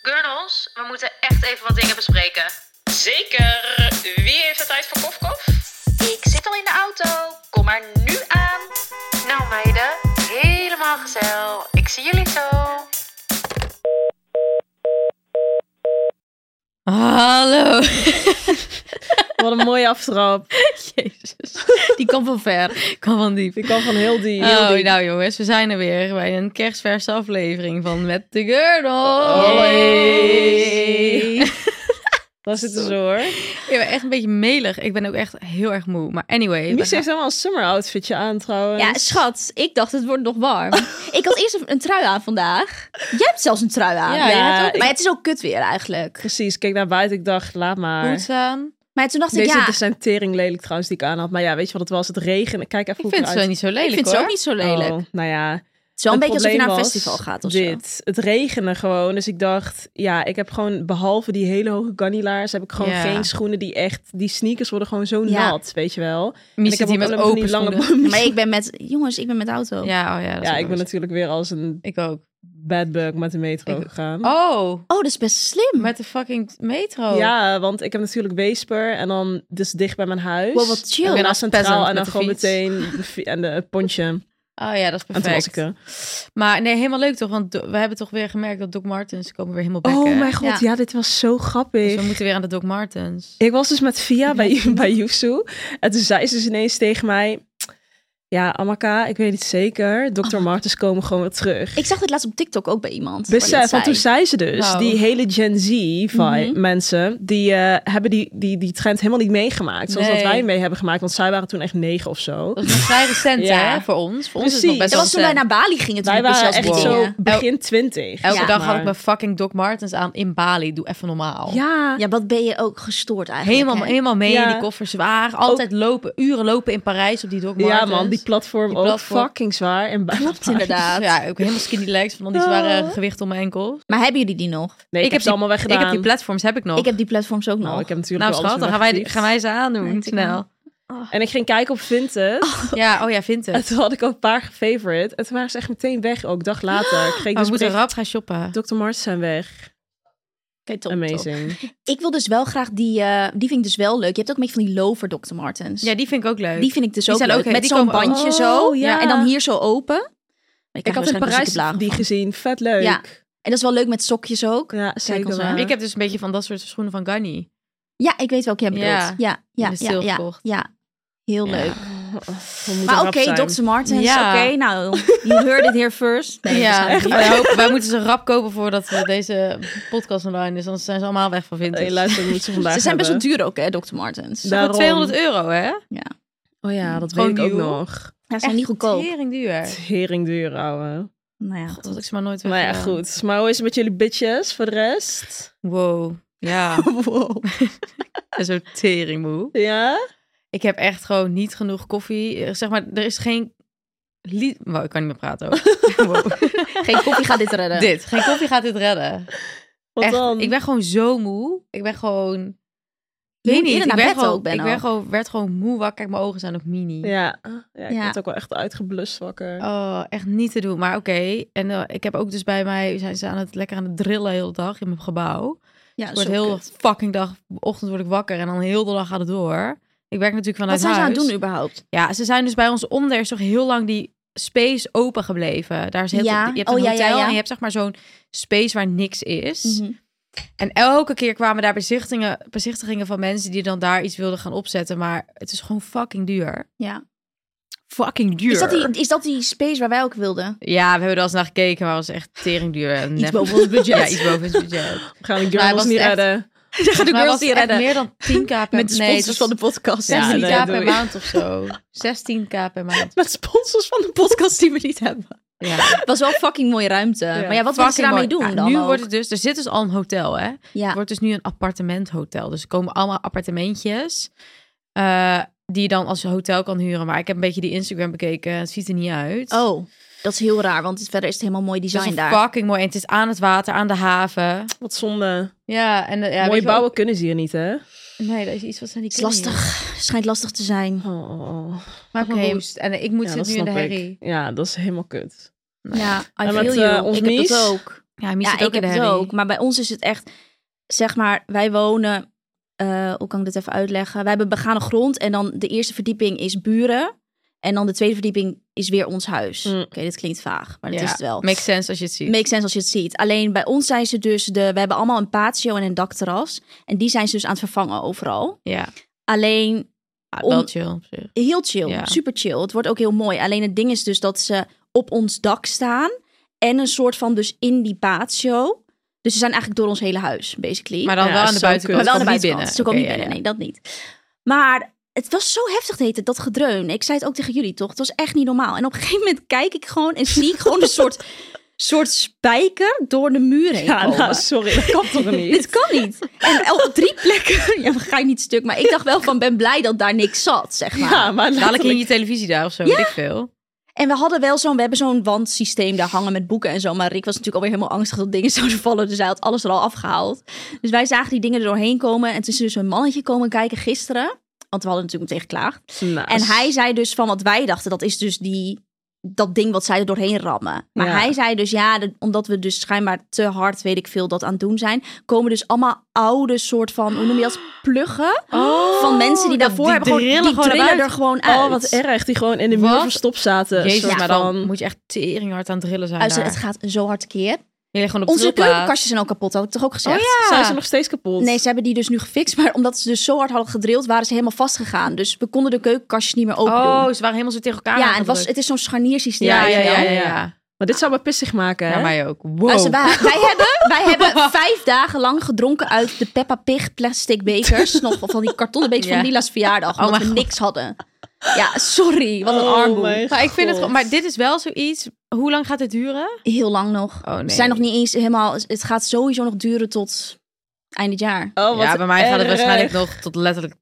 Kernels, we moeten echt even wat dingen bespreken. Zeker. Wie heeft de tijd voor kofkof? Ik zit al in de auto. Kom maar nu aan. Nou meiden, helemaal gezellig. Ik zie jullie zo. Hallo. Wat een mooie aftrap. Jezus. Die kwam van ver. Kwam van diep. Ik kan van heel die. Heel Oh, die. nou jongens, we zijn er weer bij een kerstverse aflevering van Met de Oh. Gurdel. Hey. Daar zitten ze hoor. Ik ben echt een beetje melig. Ik ben ook echt heel erg moe. Maar anyway. we Mies gaan- heeft helemaal een summer outfitje aan trouwens. Ja, schat, ik dacht het wordt nog warm. ik had eerst een, een trui aan vandaag. Jij hebt zelfs een trui aan. Ja, jij hebt ook- Maar het is ook kut weer eigenlijk. Precies, ik keek naar buiten. Ik dacht, laat maar. Boots aan. Maar toen dacht ik, Deze dus ja, ja. zijn tering lelijk trouwens die ik aan had. Maar ja, weet je wat het was? Het regen. Kijk even Ik hoe vind het het zo eruit niet zo lelijk ik vind het hoor. ook niet zo lelijk. Oh, nou ja. Het is wel een Het beetje probleem alsof je naar een was festival gaat of zo. dit. Het regende gewoon. Dus ik dacht, ja, ik heb gewoon behalve die hele hoge ganilaars... heb ik gewoon Ja. geen schoenen die echt... Die sneakers worden gewoon zo Ja. nat, weet je wel. En Mies ik zit hier heb ook met alleen maar van open die lange lange Maar ik ben met, jongens, ik ben met de auto. Ja, oh ja. dat is Ja, ook ik ben wel natuurlijk weer als een eens. Ik ook. bad bug met de metro Ik- gegaan. Oh, Oh, dat is best slim. met de fucking metro. Ja, want ik heb natuurlijk Weesper en dan dus dicht bij mijn huis. Wow, wat chill. Ik ben Als naar peasant Centraal en met dan de gewoon fiets. meteen de fi- en de het pontje. Oh ja, dat is En toen was perfect. ik er. Maar nee, helemaal leuk toch? Want do- we hebben toch weer gemerkt dat Doc Martens komen weer helemaal bekken. Oh mijn god, ja. Ja. dit was zo Dus grappig. we moeten weer aan de Doc Martens. Ik was dus met Via bij, bij Yusu. En toen zei ze dus ineens tegen mij... Ja, Amaka, ik weet niet zeker. Dr. Oh. Martens komen gewoon weer terug. Ik zag dit laatst op TikTok ook bij iemand. waar Besef, dit want toen zei zei. ze dus, Nou. die hele Gen Z vibe Mhm. mensen, die eh, hebben die, die, die trend helemaal niet meegemaakt. Zoals Nee. dat wij mee hebben gemaakt, want zij waren toen echt negen of zo. Dat is nog vrij recent Ja. hè, voor ons. Voor ons is het nog Precies. best Dat wel was toen wij recent. naar Bali gingen. Toen Wij liep ik waren zelfs echt die wow. zo dingen. begin twintig. Elke Ja. dag had ik mijn fucking Doc Martens aan in Bali. Doe even normaal. Ja, Ja, wat ben je ook gestoord eigenlijk. Helemaal, hè? helemaal mee, Ja. die koffer zwaar. Altijd lopen, uren lopen in Parijs op die Doc Martens. ja man, die platform Die ook platform. fucking zwaar. En bijna Klopt inderdaad. Ja, ook helemaal skinny legs van al die zware gewicht om mijn enkels. Maar hebben jullie die nog? Nee, ik, Ik heb heb ze die- allemaal weggedaan. Ik Oh. heb die platforms, heb ik nog. Ik heb die platforms ook nog. nou, ik heb natuurlijk nou wel alles schat, dan weer gaan wij, weggefietst. gaan wij ze aandoen, Nee, ik snel. Oh, En ik ging kijken op Vinted. Ja, oh ja, vindt En het. toen had ik al een paar gefavorite. En toen waren ze echt meteen weg ook, dag later. Ik Maar kreeg dus Oh, we moeten bericht, rap gaan shoppen. Dr. Martens zijn weg. Oké, top, top. Amazing. Ik wil dus wel graag die, eh, die vind ik dus wel leuk. Je hebt ook een beetje van die lover Dr. Martens. Ja, die vind ik ook leuk. die vind ik dus die ook zijn leuk. ook heel- Met die zo'n komen ook- bandje zo. Oh, ja. En dan hier zo open. Maar je Ik krijgt had in waarschijnlijk Parijs zieke blagen die van. gezien. Vet leuk. Ja. En dat is wel leuk met sokjes ook. Ja, zeker ons waar. aan. ik heb dus een beetje van dat soort schoenen van Ganni. Ja, ik weet welke jij bedoelt. Ja. Ja, ja, ja, Die is ja, heel ja, gekocht. Heel Ja. leuk. We moeten Maar rap oké, zijn. Dr. Martens. Ja. Oké, nou, you heard it here first. Nee, dat is ja, niet waar. wij, hopen- wij moeten ze rap kopen voordat we deze podcast online is. Anders zijn ze allemaal weg van Vinted. Hey, luister, we moeten ze vandaag Ze zijn best wel hebben. duur ook, hè, Dr. Martens. Da- Ja, Voor Daarom. 200 euro, hè? Oh ja, dat Gewoon weet ik ook nieuw. nog. ze zijn niet goedkoop. Tering duur. Hering duur, ouwe. Nou ja, God, dat ik ze maar nooit weg. Nou ja, goed. Maar hoe is het met jullie bitches voor de rest? Wow. Ja, Wow. en zo teringmoe. Ja? Ik heb echt gewoon niet genoeg koffie. Eh, Zeg maar, er is geen... Li- wow, ik kan niet meer praten. ook. Wow. geen koffie gaat dit redden. dit. Geen koffie gaat dit redden. Wat Echt, dan? Ik ben gewoon zo moe. Ik ben gewoon... Je weet moet eerder ik naar ben bed gewoon, ook, Benno. Ik ben gewoon, werd gewoon moe wakker. Kijk, mijn ogen zijn ook mini. Ja. Ah, ja, ik Ja. word ook wel echt uitgeblust wakker. Oh, echt niet te doen. Maar oké. En eh, ik heb ook dus bij mij... Zijn ze aan het lekker aan het drillen heel de dag in mijn gebouw. Ja, Ik word Ah, zo heel kut. de fucking dag, ochtend word ik wakker en dan heel de dag gaat het door. Ik werk natuurlijk vanuit Wat zijn ze aan het huis. doen überhaupt? Ja, ze zijn dus bij ons onder is toch heel lang die space open gebleven. Daar is heel Ja. je hebt Oh, een ja, ja, hotel ja. Mhm. en je hebt zeg maar zo'n space waar niks is. En elke keer kwamen daar bezichtingen, bezichtigingen van mensen die dan daar iets wilden gaan opzetten, maar het is gewoon fucking duur. Ja. Fucking duur. Is dat, die, is dat die space waar wij ook wilden? Ja, we hebben er al eens naar gekeken, maar het was echt tering duur. Iets boven ons budget. Ja, iets boven het budget. We gaan de hij journals was niet echt- redden. Dat gaat Maar het was echt meer dan 10k per Met de nee, het sponsors was- van de podcast. 16k Ja, nee, per doei. maand of zo. 16k per maand. Met sponsors van de podcast die we niet hebben. Ja. was wel fucking mooie ruimte. Maar ja, wat willen ze Fucking mooi. daarmee doen Ja, dan Nu ook? wordt het dus, er zit dus al een hotel, hè? Ja. Het wordt dus nu een appartementhotel. Dus er komen allemaal appartementjes eh, die je dan als hotel kan huren. Maar ik heb een beetje die Instagram bekeken. Het ziet er niet uit. Oh, dat is heel raar, want verder is het helemaal mooi het is design een daar. fucking mooi. En het is aan het water, aan de haven. Wat zonde. Ja, en eh, ja, weet Mooi je wel- bouwen kunnen ze hier niet, hè? Nee, dat is iets wat zijn die Het is lastig. Schijnt lastig te zijn. Oh. Maak Oké. me woest. En ik moet Ja, zitten dat nu in snap de ik. herrie. Ja, dat is helemaal kut. Ja, I En met, feel eh, you. ons ik heb niece? het ook. Ja, mis Ja, het ook ik in heb de het herrie. ook. Maar bij ons is het echt, zeg maar, wij wonen. eh, hoe kan ik dit even uitleggen? Wij hebben begane grond en dan de eerste verdieping is buren. En dan de tweede verdieping is weer ons huis. Mm. Oké, dit klinkt vaag, maar dat Ja, is het wel. Makes sense als je het ziet. Makes sense als je het ziet. Alleen bij ons zijn ze dus de. We hebben allemaal een patio en een dakterras. En die zijn ze dus aan het vervangen overal. ja, Alleen Ah, Om- wel chill op zich. Heel chill, Ja. super chill. Het wordt ook heel mooi. Alleen het ding is dus dat ze op ons dak staan en een soort van dus in die patio. Dus ze zijn eigenlijk door ons hele huis, basically. Maar dan Ja, wel aan de zo buitenkant. kunnen. wel aan de komt niet buitenkant. binnen. Ze Oké, komen niet ja, binnen, nee, dat niet. Maar het was zo heftig, heet het, dat gedreun. Ik zei het ook tegen jullie, toch? Het was echt niet normaal. En op een gegeven moment kijk ik gewoon en zie ik gewoon een soort, soort spijker door de muur heen Ja, komen. nou, sorry, dat kan toch niet? Dit kan niet. En op drie plekken, ja, ga je niet stuk, maar ik dacht wel van ben blij dat daar niks zat, zeg maar. Ja, maar ja. Dadelijk in letterlijk. je televisie daar of zo, weet ik veel. En we hadden wel zo'n, we hebben zo'n wandsysteem daar hangen met boeken en zo. Maar Rick was natuurlijk alweer helemaal angstig dat dingen zouden vallen. Dus hij had alles er al afgehaald. Dus wij zagen die dingen er doorheen komen. En toen is er dus een mannetje komen kijken gisteren. Want we hadden natuurlijk meteen geklaagd. Nou, En hij zei dus van wat wij dachten, dat is dus die, dat ding wat zij er doorheen rammen. Maar Ja. hij zei dus ja, dat- omdat we dus schijnbaar te hard, weet ik veel, dat aan het doen zijn. Komen dus allemaal oude soort van, hoe noem je dat, pluggen. van mensen Oh, dat- die daarvoor die hebben gewoon, drillen die gewoon naar drillen er buiten. gewoon uit. Oh, wat erg. Die gewoon in de muur Wat? verstopt zaten. Een Jezus, soort maar dan van- moet je echt tering hard aan het drillen zijn Uit, daar. het gaat zo hard keer. Je ligt gewoon op de Oh Onze trilplaat. keukenkastjes zijn al kapot, had ik toch ook gezegd? Zijn ze nog steeds kapot? Nee, ze hebben die dus nu gefixt. Maar omdat ze dus zo hard hadden gedrild, waren ze helemaal vastgegaan. Dus we konden de keukenkastjes niet meer open doen. Oh, ze waren helemaal zo tegen elkaar ja, en het, was, aangedrukt. het is zo'n scharniersysteem. Ja, ja, weet je ja, Oh. wel. ja, ja. Maar dit zou me pissig maken, hè? Ja, mij ook. Wow. Luister, wij, wij hebben, wij hebben vijf dagen lang gedronken uit de Peppa Pig plastic bekers. Nog van die kartonnen bekers Ja. van Lila's Oh verjaardag. Omdat we mijn God. niks hadden. Ja, sorry. Wat een Oh armoe. mijn Maar ik vind het gewoon- God. maar dit is wel zoiets. Hoe lang gaat dit duren? Heel lang nog. Oh, nee. Ze zijn nog niet eens helemaal... Het gaat sowieso nog duren tot eind dit jaar. Oh, wat ja, bij mij gaat het erg. waarschijnlijk nog tot letterlijk.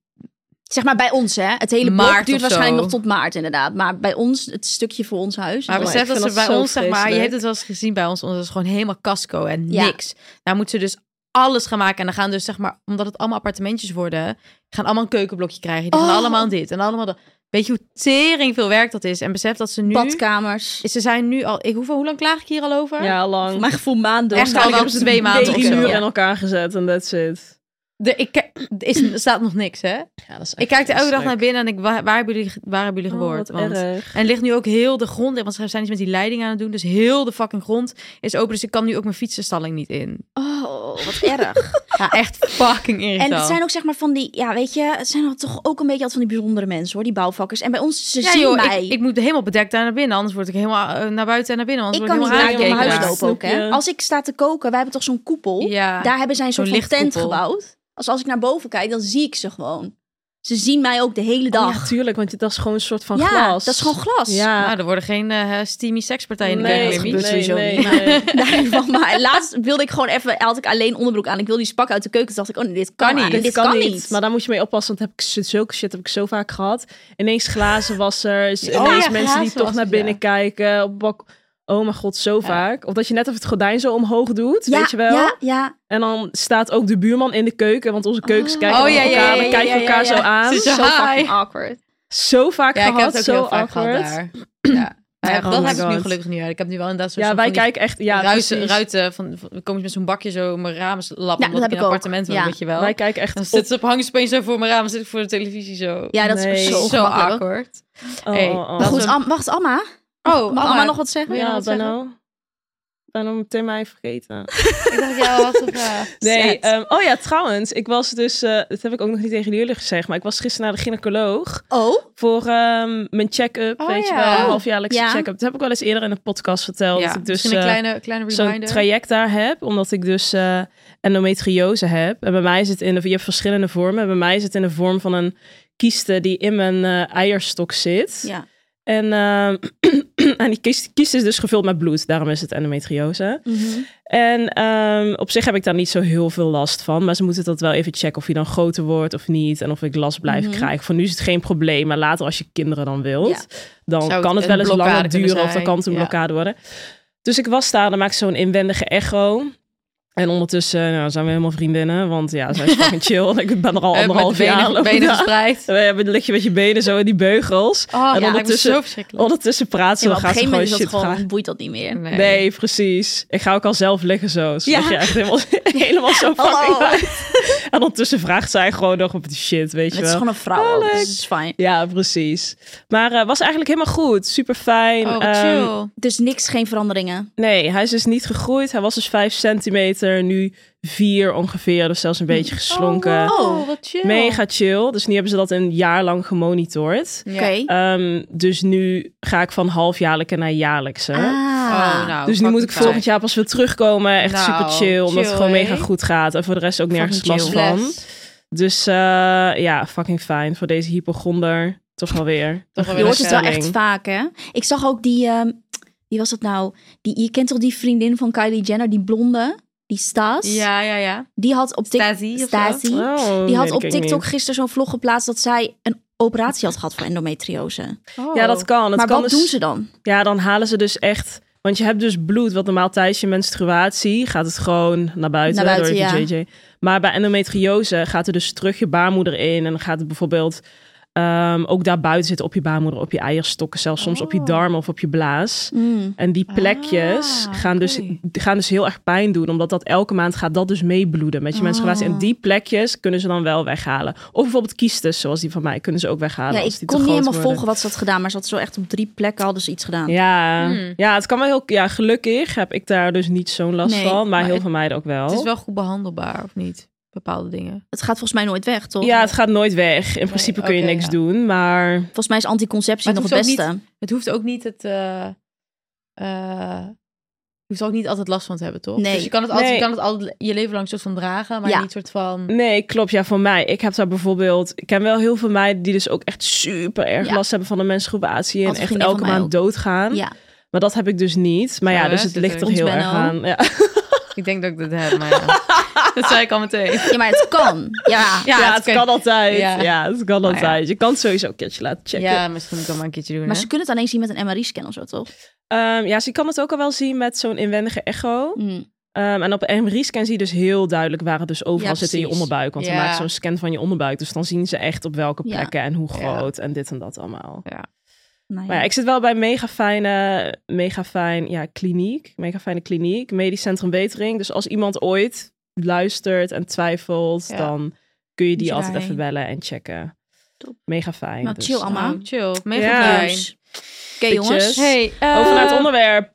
Zeg maar bij ons, hè? Het hele Maart blok duurt of waarschijnlijk zo. nog tot maart, inderdaad. Maar bij ons, het stukje voor ons huis. Maar is Oh, ik besef dat vind ze dat bij zo ons, zeg maar, je vreselijk. hebt het wel eens gezien bij ons, ons is gewoon helemaal casco en Ja. niks. Daar moeten ze dus alles gaan maken. En dan gaan dus, zeg maar, omdat het allemaal appartementjes worden, gaan allemaal een keukenblokje krijgen. Die gaan Oh. allemaal dit en allemaal dat. Weet je hoe tering veel werk dat is? En besef dat ze nu... badkamers. Ze zijn nu al... Ik, hoeveel, hoe lang klaag ik hier al over? Ja, lang. Mijn gevoel maanden. Echt al wel hebben ze twee maanden of drie zo. muur Ja. in elkaar gezet en that's it. De, ik, ke- er is, er staat nog niks, hè? Ja, dat is Ik kijk er elke dag naar binnen en ik, waar, waar hebben jullie, ge- waar hebben Oh, jullie geboord? Want- en er ligt nu ook heel de grond in, want ze zijn iets met die leiding aan het doen. Dus heel de fucking grond is open. Dus ik kan nu ook mijn fietsenstalling niet in. Oh, wat erg. Ja, echt fucking irritant. En het zijn ook zeg maar van die, ja weet je, het zijn dan toch ook een beetje altijd van die bijzondere mensen hoor, die bouwvakkers. En bij ons, ze ja, zien joh, mij. Ik, ik moet helemaal bedekt daar naar binnen, anders word ik helemaal eh, naar buiten en naar binnen. Ik Anders kan word niet ik helemaal naar raken mijn om huis aangekeken. Ja. lopen ook, hè. Snap je? Als ik sta te koken, wij hebben toch zo'n koepel. Ja. Daar hebben zij een Zo'n soort van tent lichtkoepel. gebouwd. Dus als ik naar boven kijk, dan zie ik ze gewoon. Ze zien mij ook de hele Oh, dag. ja, tuurlijk, want dat is gewoon een soort van Ja, glas. dat is gewoon glas. Ja. Nou, er worden geen eh, steamy sekspartijen in de nee, keuken, nee, Mimi. nee, nee, Nee, van maar laatst wilde ik gewoon even, had ik alleen onderbroek aan. Ik wilde die spak uit de keuken. Toen dacht ik, oh nee, dit kan, Kan niet. niet. Dit, kan, niet. Maar daar moet je mee oppassen, want heb ik zo- zulke shit heb ik zo vaak gehad. Ineens glazenwassers, Oh, ineens ja, mensen die toch glazenwassers, naar binnen ja. kijken. Op bak... Oh mijn god, zo vaak. Of dat je net even het gordijn zo omhoog doet, ja, weet je wel. Ja, ja. En dan staat ook de buurman in de keuken, want onze keukens Oh. kijken Oh, naar ja, ja, elkaar. ja, we ja, kijken ja, elkaar ja, zo ja. aan. Ze Hi. Zo fucking awkward. Zo vaak Ja, ik gehad, heb het ook zo heel vaak gehad awkward. daar. Ja. Maar ja, Oh dat my heb ik nu God. gelukkig niet uit. Ik heb nu wel inderdaad zo'n Ja, soort wij van die kijken echt... Ja, ruiten, precies. ruiten van, van- kom je met zo'n bakje zo om mijn ramen lappen, Ja, omdat ik dat in heb een ik ook. appartement woon, Ja. weet je wel. Wij kijken echt dan op... zit ze op hangespannen zo voor mijn raam, dan zit ik voor de televisie zo. Ja, dat is Nee. zo, zo ongemakkelijk. akkoord. Oh, Hey, oh, oh. Maar goed, Dat is Am- wacht, Amma. Oh, Mag Amma nog wat zeggen? wil je nog Ja, wat ben zeggen? nou... Ben nou meteen mij vergeten. Ik dacht, ja, wat een vraag. Nee, Zet. ehm, oh ja, trouwens, ik was dus, eh, dat heb ik ook nog niet tegen jullie gezegd, maar ik was gisteren naar de gynaecoloog Oh, voor ehm, mijn check-up, Oh weet ja. je wel, Oh, halfjaarlijkse ja. check-up. Dat heb ik wel eens eerder in een podcast verteld, Ja, dat ik dus dus een eh, kleine, kleine zo'n reminder. traject daar heb, omdat ik dus eh, endometriose heb. En bij mij is het in de, je hebt verschillende vormen, bij mij is het in de vorm van een kyste die in mijn eh, eierstok zit. ja. En, ehm, en die kyst, kyst is dus gevuld met bloed, daarom is het endometriose. Oh, En ehm, op zich heb ik daar niet zo heel veel last van. Maar ze moeten dat wel even checken of je dan groter wordt of niet. En of ik last blijf Mhm. krijgen. Voor nu is het geen probleem. Maar later als je kinderen dan wilt, Ja. dan Zou het kan het een wel eens blokkade langer kunnen duren. Of dan zijn, kan het een ja. blokkade worden. Dus ik was daar, dan maak ik zo'n inwendige echo. En ondertussen nou, zijn we helemaal vriendinnen, want ja, zij is fucking chill. Ik ben er al Met anderhalf de benen, jaar. benen Ja. gespreid. We hebben lig je met je benen zo in die beugels. Oh, ja, ik was ondertussen- zo verschrikkelijk. Ondertussen praat ze, Ja, maar dan op een gaat ze gegeven gewoon moment is dat shit gewoon, vragen. boeit dat niet meer. Nee. Nee, precies. Ik ga ook al zelf liggen zo. Zodat Ja. je echt helemaal, helemaal zo fucking Hallo. uit. En ondertussen vraagt zij gewoon nog op die shit, weet je Het is wel. gewoon een vrouw, Alex. dus het is fijn. Ja, precies. Maar eh, was eigenlijk helemaal goed. Super fijn. Ehm, Oh, wat chill. Dus niks, geen veranderingen. nee, hij is dus niet gegroeid. Hij was dus 5 centimeter, nu 4 ongeveer. Dus zelfs een beetje geslonken. Oh, wow, wat chill. Mega chill. Dus nu hebben ze dat een jaar lang gemonitord. Ja. Oké. Ehm, dus nu ga ik van halfjaarlijke naar jaarlijkse. Ah. Oh, nou, dus nu moet ik fucking volgend jaar pas weer terugkomen. Echt Nou, super chill. Omdat het chill, gewoon hè? mega goed gaat. En voor de rest ook nergens Fucking last chill. fijn. van. Bless. Dus eh, ja, fucking fijn voor deze hypochonder. Toch wel weer. Toch wel Je weer hoort het wel geruststelling. echt vaak, hè? Ik zag ook die... ehm, wie was dat nou? Die, je kent toch die vriendin van Kylie Jenner, die blonde? Die Stas? Ja, ja, ja. Die had op TikTok... Stasi of zo? Stasi. Oh, Die had weet op ik niet. TikTok gisteren zo'n vlog geplaatst dat zij een operatie had gehad voor endometriose. Oh. Ja, dat kan. Het maar kan wat dus- doen ze dan? Ja, dan halen ze dus echt... Want je hebt dus bloed, wat normaal tijdens je menstruatie gaat het gewoon naar buiten, Naar buiten, door je ja. JJ. Maar bij endometriose gaat er dus terug je baarmoeder in en dan gaat het bijvoorbeeld ehm, ook daar buiten zitten op je baarmoeder, op je eierstokken, zelfs soms op je Oh. darmen of op je blaas. Mm. En die plekjes Ah, gaan, dus, oké. gaan dus heel erg pijn doen, omdat dat elke maand gaat dat dus meebloeden met je menstruatie. Oh. En die plekjes kunnen ze dan wel weghalen. Of bijvoorbeeld kiestes, zoals die van mij, kunnen ze ook weghalen. Ja, als ik die te kon niet groot helemaal worden. volgen wat ze had gedaan, maar ze had zo echt op drie plekken hadden ze iets gedaan. Ja, Hmm. ja, het kan wel heel. Ja, gelukkig heb ik daar dus niet zo'n last Nee, van, maar, maar heel het- veel meiden ook wel. Het is wel goed behandelbaar, of niet? Bepaalde dingen. Het gaat volgens mij nooit weg, toch? Ja, het gaat nooit weg. In principe kun je oké, niks ja. doen, maar Volgens mij is anticonceptie Maar nog het het hoeft beste. ook Het hoeft ook niet het... eh eh, je hoeft er ook niet altijd last van te hebben, toch? Nee. Dus je kan het altijd, Nee. Mm. je, kan het altijd je leven lang soort van dragen, maar Ja. niet soort van... nee, klopt. Ja, voor mij. Ik heb daar bijvoorbeeld. Ik ken wel heel veel meiden die dus ook echt super erg Ja. last hebben van de menstruatie en Had een echt vriendin elke van mij maand ook. doodgaan. Ja. Maar dat heb ik dus niet. Maar ja, Zo, hè, dus het zit ligt er. er Ons heel erg Benno. aan. Ja. Ik denk dat ik dat heb, maar ja. dat zei ik al meteen. ja, maar het kan. Ja. Ja, het oké. kan altijd. Ja, Ja. het kan Maar ja. altijd. Je kan het sowieso een keertje laten checken. Ja, misschien moet ik dat maar een keertje doen, Maar hè? ze kunnen het alleen zien met een MRI-scan of zo, toch? Ehm, ja, ze kan het ook al wel zien met zo'n inwendige echo. Mm. Ehm, en op MRI-scan zie je dus heel duidelijk waar het dus overal Ja, zit in je precies. onderbuik. Want dan Ja. maken ze zo'n scan van je onderbuik. Dus dan zien ze echt op welke Ja. plekken en hoe Ja. groot en dit en dat allemaal. Nou, ja. Maar ja, ik zit wel bij een mega fijne, mega fijn, ja, kliniek. Mega fijne kliniek. Medisch Centrum Wetering. Dus als iemand ooit luistert en twijfelt, Ja. dan kun je Moet die je altijd daarheen. even bellen en checken. Top. Mega fijn. Nou, dus. chill allemaal. Oh, chill. Mega Ja. fijn. Nieuws. Oké, jongens. Bitches. Ehm, Hey, eh, Over naar het onderwerp.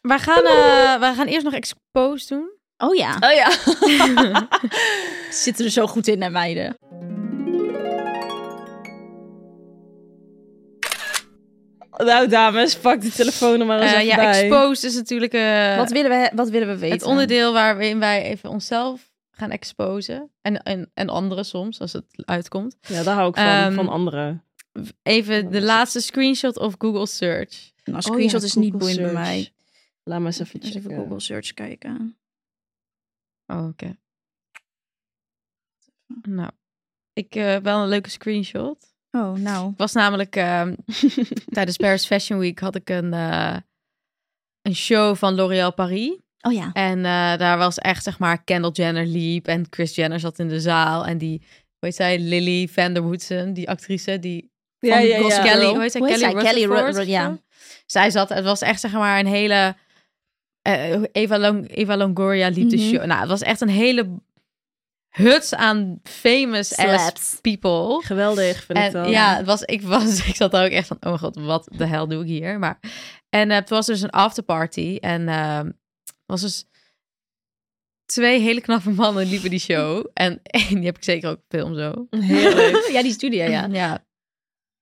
wij, gaan, eh, wij gaan eerst nog expose doen. Oh ja. Oh ja. Zitten er zo goed in, naar meiden. Nou dames, pak die telefoon er maar eens Eh, Oh, even ja, bij. expose is natuurlijk eh, wat, willen we, wat willen we weten? het onderdeel waarin wij even onszelf gaan exposen. En, en, en anderen soms, als het uitkomt. Ja, daar hou ik van, Ehm, van anderen. Even de laatste screenshot of Google search. Nou, Oh screenshot ja, is niet Google boeiend bij search. mij. Laat maar eens even Dus even checken. Google search kijken. Oh, oké. Nou, ik heb wel een leuke screenshot. Oh, nou. Ik was namelijk ehm, tijdens Paris Fashion Week had ik een, eh, een show van L'Oréal Paris. Oh ja. En eh, daar was echt, zeg maar, Kendall Jenner liep en Chris Jenner zat in de zaal. En die, hoe heet zij, Lily Vanderwoodsen, die actrice, die Ja, ja, Gossip ja. Girl. Kelly, hoe heet zij, Hoe heet Kelly, zij? Kelly Ru- Rutherford Ru- of ja. zo? Zij zat, het was echt, zeg maar, een hele... eh, Eva, Long, Eva Longoria liep Mhm. de show. Nou, het was echt een hele huts aan famous Slaps. ass people. Geweldig, vind ik En, dat. ja, het was, ik, was, ik zat daar ook echt van, oh mijn god, wat de hel doe ik hier? Maar, en eh, het was dus een afterparty. En ehm, het was dus twee hele knappe mannen liepen die show. En één, die heb ik zeker ook op film zo. Heerlijk. ja, die studio, ja. ja.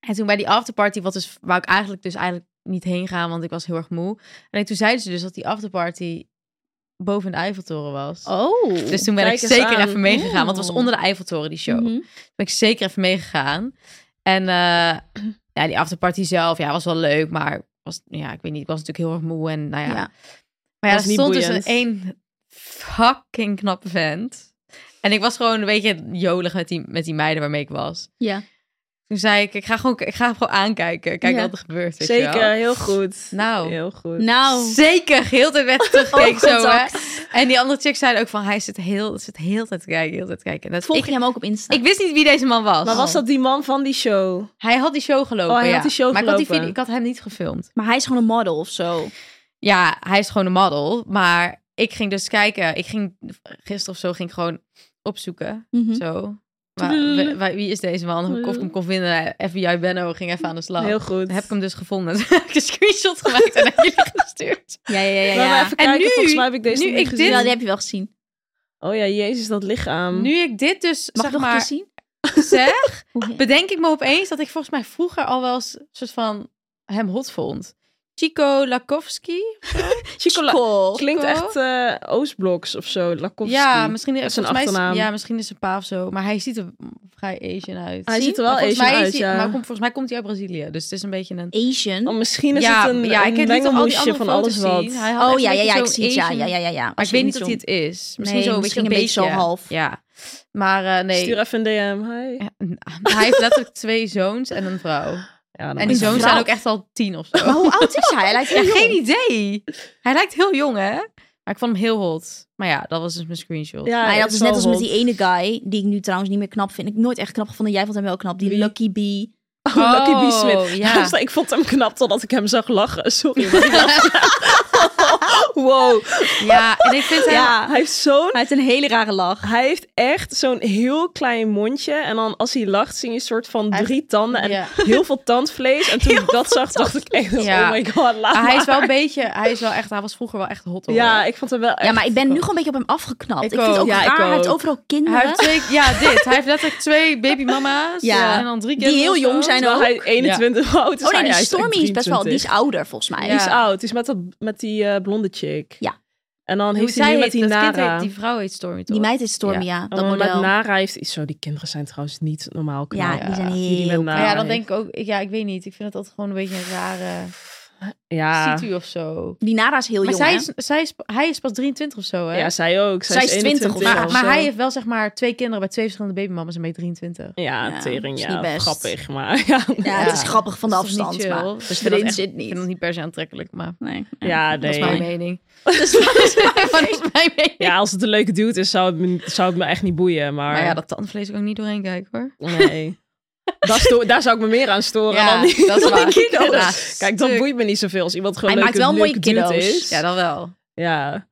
En toen bij die afterparty, wat dus, wou ik eigenlijk dus eigenlijk niet heen gaan, want ik was heel erg moe. En toen zeiden ze dus dat die afterparty boven in de Eiffeltoren was. Oh. Dus toen ben kijk ik eens zeker aan. even meegegaan, want het was Oeh. onder de Eiffeltoren, die show Mhm. ben ik zeker even meegegaan. En eh, ja, die afterparty zelf, ja, was wel leuk, maar was, ja, ik weet niet, ik was natuurlijk heel erg moe en nou ja. Ja. Maar ja, Was er niet stond boeiend. dus een één fucking knappe vent. En ik was gewoon een beetje jolig met die, met die meiden waarmee ik was. Ja. Toen zei ik, ik ga gewoon, ik ga gewoon aankijken, kijken Ja. wat er gebeurt, weet je wel. Zeker, heel goed. Nou. Heel goed. Nou. Zeker, heel de tijd werd teruggekeken zo, hè. Oogcontact. En die andere chick zei ook van, hij zit heel, zit heel tijd te kijken, heel tijd te kijken. En dat, Volg ik, je hem ook op Insta? ik wist niet wie deze man was. Maar was dat die man van die show? Hij had die show gelopen, Oh, hij had ja. die show maar ik had, die gelopen. video, ik had hem niet gefilmd. Maar hij is gewoon een model of zo. Ja, hij is gewoon een model, maar ik ging dus kijken. Ik ging gisteren of zo ging ik gewoon opzoeken, Mhm. zo. Waar, wa- wa- wie is deze man? Of ik hem kon vinden. FBI Benno ging even aan de slag. Heel goed. Dan Oh, heb ik hem dus gevonden. Toen heb ik een screenshot gemaakt en naar jullie gestuurd. Ja, ja, ja. Laat ja. maar even En kijken, nu- volgens mij heb ik deze nu nog niet ik Ja, gezien. die heb je wel gezien. Oh ja, jezus, dat lichaam. Nu ik dit dus Mag ik zeg nog een keer maar zien? zeg, Hoe heet- bedenk ik me opeens dat ik volgens mij vroeger al wel eens een soort van hem hot vond. Chico Lakowski. Chocola- Cool. Klinkt Chico? echt eh, Oostbloks of zo, Lakovski. Ja, misschien is is, zijn volgens mij is, achternaam. ja, misschien is zijn pa of zo. Maar hij ziet er vrij Asian uit. Hij Zie? ziet er wel Maar volgens Asian mij is uit, hij- ja. Maar kom- volgens mij komt hij uit Brazilië. Dus het is een beetje een... Asian. Oh, misschien is ja, het een, ja, ik een heb niet al die mengelmoesje andere van alles foto's wat. zien. Hij had Oh echt ja, een ja, ja, beetje ik zo'n zie het. Ja, Asian- ja, ja, ja. ja. Maar Als ik je weet niet niet of zo'n- hij het is. Misschien Nee, zo, weet je, misschien een een beetje, beetje zo half. Ja. Maar eh, nee. Stuur even een DM. Hi. Hij heeft letterlijk twee zoons en een vrouw. Oh, Ja, dan En die is het zoons wel- zijn ook echt al tien of zo. Maar hoe oud Oh, is hij? Hij lijkt Ja, heel geen jong. idee. Hij lijkt heel jong, hè? Maar ik vond hem heel hot. Maar ja, dat was dus mijn screenshot. Ja, Maar dat is net als met die hot. ene guy, die ik nu trouwens niet meer knap vind. Ik heb nooit echt knap gevonden. Jij vond hem wel knap. Die Wie? Lucky Bee. Oh, Lucky B. Smith. ja. Dus ik vond hem knap totdat ik hem zag lachen. Sorry. maar ik dacht- wow. Ja, en ik vind hem... Ah. Ja. Hij heeft zo'n... Hij heeft een hele rare lach. Hij heeft echt zo'n heel klein mondje. En dan als hij lacht, zie je een soort van Hij- drie tanden. En Ja. heel veel tandvlees. En toen ik dat zag, dacht ik echt... Ja. Oh my god, laat Maar Ah, hij is wel maar. een beetje... Hij is wel echt... Hij was vroeger wel echt hot, hoor. Ja, ik vond hem wel echt... Ja, maar ik ben nu gewoon een beetje op hem afgeknapt. Ik Ik, vind het ook. ook Ja, ik raar. Hij heeft ook. overal kinderen. Hij heeft twee... Ja, dit. Hij heeft letterlijk twee babymama's. Ja. eh, En dan drie Die kinderen heel of jong zo. zijn Terwijl hij 21 jaar oud is. Oh nee, hij die echt Stormy is best wel... Die 23. is ouder, volgens mij. Ja. Die is oud. Die is met, dat, met die eh, blonde chick. Ja. En dan Hoe heeft hij zij nu met heet, die dat kind Nara. heet- Die vrouw heet Stormy, toch? Die meid is Stormy, ja. dat Oh, maar model. met Nara heeft iets zo. Die kinderen zijn trouwens niet normaal knap. ja, die zijn die met heel... Nara Maar ja, dan heeft. denk ik ook... Ja, ik weet niet. Ik vind dat altijd gewoon een beetje een rare... Ja. Ziet u of zo. Die Nara is heel Maar jong, zij hè? is, zij is, hij is pas 23 of zo, hè? ja, zij ook. Zij, Zij is is 20 of 21 zo. maar, maar zo. hij heeft wel zeg maar twee kinderen bij twee verschillende babymamas en bij 23. Ja, Ja, tering, is ja. niet best. Grappig, maar ja. Ja, het is grappig van de Dat is toch afstand, niet maar chill? dus Dus ik vind dat erin echt- zit Ik vind het niet. niet per se aantrekkelijk, maar Nee. Dus- Ja, dat is mijn nee. mening. Dat is dat is dat is mijn mening. Ja, als het een leuke dude is, zou het me, zou het me echt niet boeien. Maar, Maar ja, dat tandvlees ook niet doorheen kijken hoor. nee. Daar sto- daar zou ik me meer aan storen dan die, dat is dan die waar. kiddo's. Ja, Kijk, dat stuk. boeit me niet zoveel als iemand gewoon Hij leuke, maakt wel mooie leuke dude kiddo's. is. Ja, dan wel. ja.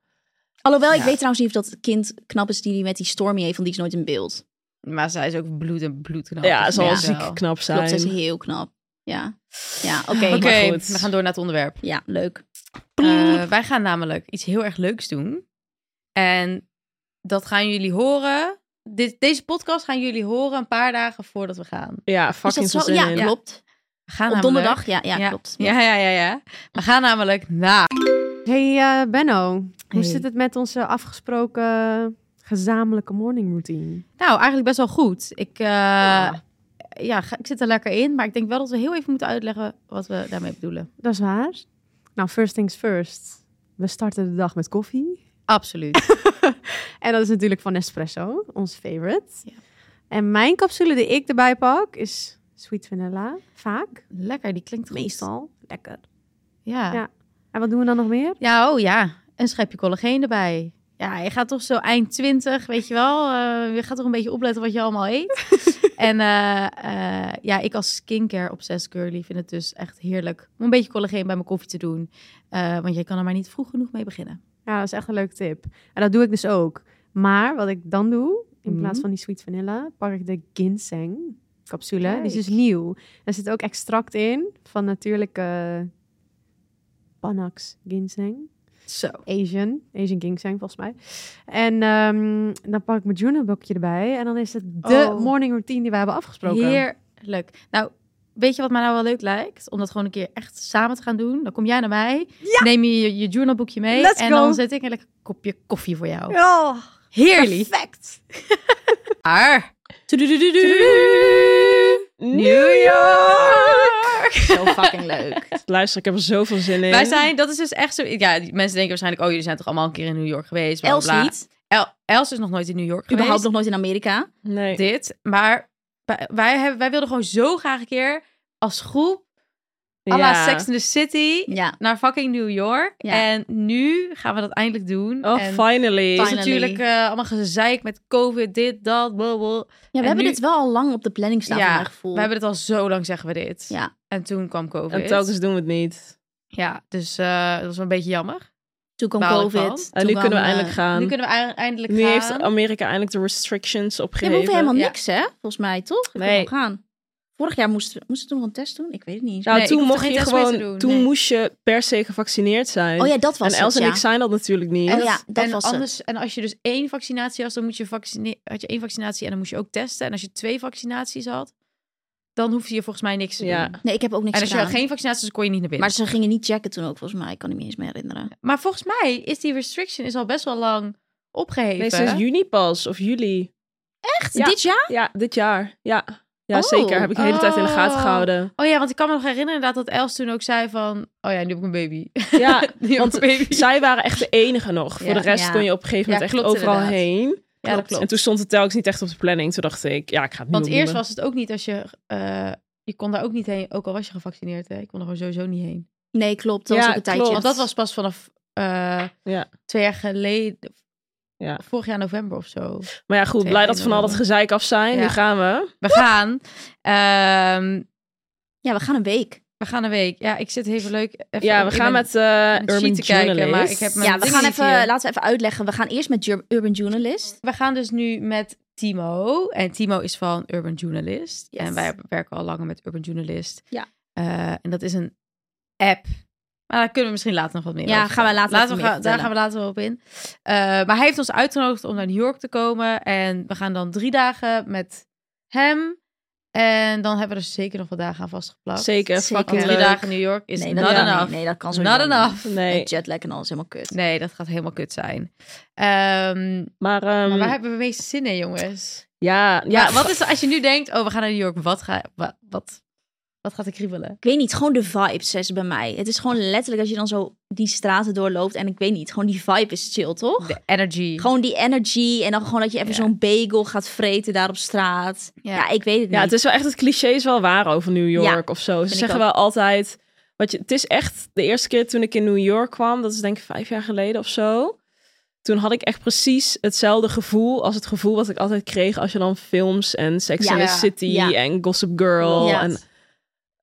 Alhoewel, ik Ja. weet trouwens niet of dat kind knap is die die met die Stormy heeft, want die is nooit in beeld. Maar zij is ook bloed en bloed. Ja, dus zal Ja. ziek knap zijn. Klopt, zij is heel knap. Ja, ja oké. Oké, Maar goed. we gaan door naar het onderwerp. Ja, leuk. Eh, wij gaan namelijk iets heel erg leuks doen. En dat gaan jullie horen. Dit, deze podcast gaan jullie horen een paar dagen voordat we gaan. Ja, Is fucking dat veel zo? zin Ja, in. klopt. We gaan Op namelijk- donderdag? Ja, ja, klopt. Ja, ja, ja, ja. We gaan namelijk naar... Hey eh, Benno, hoe Hey. zit het met onze afgesproken gezamenlijke morning routine? Nou, eigenlijk best wel goed. Ik, eh, ja, ga- ik zit er lekker in, maar ik denk wel dat we heel even moeten uitleggen wat we daarmee bedoelen. Dat is waar. Nou, first things first. We starten de dag met koffie. Absoluut. En dat is natuurlijk van Nespresso, ons favorite. Ja. En mijn capsule die ik erbij pak is sweet vanilla, vaak. lekker, die klinkt goed. Meestal. Lekker. Ja. ja. Ja. En wat doen we dan nog meer? oh ja. Een schepje collageen erbij. Ja, je gaat toch zo eind 20, weet je wel. eh, je gaat toch een beetje opletten wat je allemaal eet. en eh, eh, ja, ik als skincare obsessed girly vind het dus echt heerlijk om een beetje collageen bij mijn koffie te doen. Eh, want je kan er maar niet vroeg genoeg mee beginnen. Ja, dat is echt een leuke tip. En dat doe ik dus ook. Maar wat ik dan doe, in Mhm. plaats van die sweet vanilla, pak ik de ginseng capsule. Die is dus Kijk. nieuw. Daar zit ook extract in van natuurlijke Panax ginseng. Zo. Asian, Asian ginseng volgens mij. En ehm, dan pak ik mijn journalboekje erbij. En dan is het de Oh. morning routine die we hebben afgesproken. Heerlijk. Nou, weet je wat mij nou wel leuk lijkt? Om dat gewoon een keer echt samen te gaan doen. Dan kom jij naar mij, neem je je, je journalboekje mee Let's en go. dan zet ik een lekker kopje koffie voor jou. Oh, Heerlijk. perfect. Ar. New York! Zo fucking leuk. Luister, ik heb er zoveel zin in. Wij zijn, dat is dus echt zo. Ja, die mensen denken waarschijnlijk, oh, jullie zijn toch allemaal een keer in New York geweest. bla, Els bla. niet. El- Els is nog nooit in New York geweest. Überhaupt nog nooit in Amerika. Nee. dit. Maar wij- wij, hebben, wij wilden gewoon zo graag een keer als groep à la Ja. Sex in the City Ja. naar fucking New York. Ja. En nu gaan we dat eindelijk doen. Oh, en finally. het is Finally. natuurlijk eh, allemaal gezeik met COVID, dit, dat, blablabla. Ja, we hebben nu- dit wel al lang op de planning staan, Ja, voor mijn gevoel. We hebben het al zo lang, zeggen we dit. Ja. En toen kwam COVID. En telkens doen we het niet. Ja, dus eh, dat was wel een beetje jammer. Toen kwam baal COVID. ervan. toen En nu kwam, kunnen we eh, eindelijk gaan. Nu kunnen we ei- eindelijk Nu gaan. heeft Amerika eindelijk de restrictions Ja, opgegeven. we hoeven helemaal Ja. niks, hè? Volgens mij, toch? We Nee. kunnen wel gaan. Vorig jaar moesten we, moesten we toen nog een test doen? Ik weet het niet. eens. Nou, Nee, ik toen hoef er mocht geen je test meer te gewoon, doen, toen nee. moest je per se gevaccineerd zijn. oh ja, dat was en het, Els en ja. ik zijn dat natuurlijk niet. En- ja, dat en was het. anders, En als je dus één vaccinatie had, dan moet je vaccine- had je één vaccinatie en dan moest je ook testen. En als je twee vaccinaties had, dan hoefde je volgens mij niks te Ja. doen. Nee, ik heb ook niks En als je had gedaan. geen vaccinaties, dan kon je niet naar binnen. Maar ze gingen niet checken toen ook, volgens mij. Ik kan het me niet eens meer herinneren. Maar volgens mij is die restriction is al best wel lang opgeheven. Nee, sinds juni pas, of juli. Echt? Ja. Dit jaar? Ja, dit jaar. Ja, ja Oh. zeker. Heb ik de hele tijd in de gaten Oh. gehouden. Oh ja, want ik kan me nog herinneren dat, dat Els toen ook zei van... Oh ja, nu heb ik een baby. Ja, nu heb Ah, want ik een baby. zij waren echt de enige nog. Ja. Voor de rest Ja. kon je op een gegeven Ja, moment echt klopt overal inderdaad. heen. Ja, dat klopt. En toen stond het telkens niet echt op de planning. Toen dacht ik, ja, ik ga het nu Want eerst opnoemen. was het ook niet als je... eh, je kon daar ook niet heen, ook al was je gevaccineerd. Hè? Je kon er gewoon sowieso niet heen. Nee, klopt. Dat Ja, was ook een tijdje. klopt. Want dat was pas vanaf eh, Ja. twee jaar geleden... Ja. Vorig jaar november of zo. Maar ja, goed, Twee blij dat weken we van al wel. dat gezeik af zijn. Ja. Nu gaan we. We gaan. ehm, Ja, we gaan een week. we gaan een week. Ja, ik zit even leuk... even Ja, op- we ik gaan ben- met eh het Urban sheet te kijken, Journalist. maar ik heb mijn- Ja, we ding gaan niet even, hier. laten we even uitleggen. We gaan eerst met Jur- Urban Journalist. We gaan dus nu met Timo. En Timo is van Urban Journalist. Yes. En wij werken al langer met Urban Journalist. Ja. Eh, en dat is een app. Maar daar kunnen we misschien later nog wat meer Ja, over gaan we later Laten wat we meer gaan- daar gaan we later wel op in. Eh, maar hij heeft ons uitgenodigd om naar New York te komen. En we gaan dan drie dagen met hem. En dan hebben we er zeker nog wat dagen aan vastgeplakt. Zeker, Zeker. Want fucking drie leuk. dagen in New York is nee, not dat, enough. nee, nee, dat kan zo not enough. Nee. Nee, Jetlag en alles helemaal kut. Nee, dat gaat helemaal kut zijn. Ehm maar, ehm, Um, maar waar hebben we het meeste zin in, jongens? ja, Ja, ja, wat is er- als je nu denkt, oh, we gaan naar New York, wat, ga, wa- wat, wat gaat er kriebelen? Ik weet niet, gewoon de vibes is bij mij. Het is gewoon letterlijk als je dan zo die straten doorloopt. En ik weet niet, gewoon die vibe is chill, toch? De energy. Gewoon die energy en dan gewoon dat je even Ja. zo'n bagel gaat vreten daar op straat. Ja, ik weet het Ja, niet. het is wel echt het cliché is wel waar over New York of zo. Ze ik zeggen ook. wel altijd. Wat je, het is echt de eerste keer toen ik in New York kwam, dat is denk ik vijf jaar geleden of zo. Toen had ik echt precies hetzelfde gevoel als het gevoel wat ik altijd kreeg als je dan films en Sex Ja. and the City Ja. en Gossip Girl Ja. en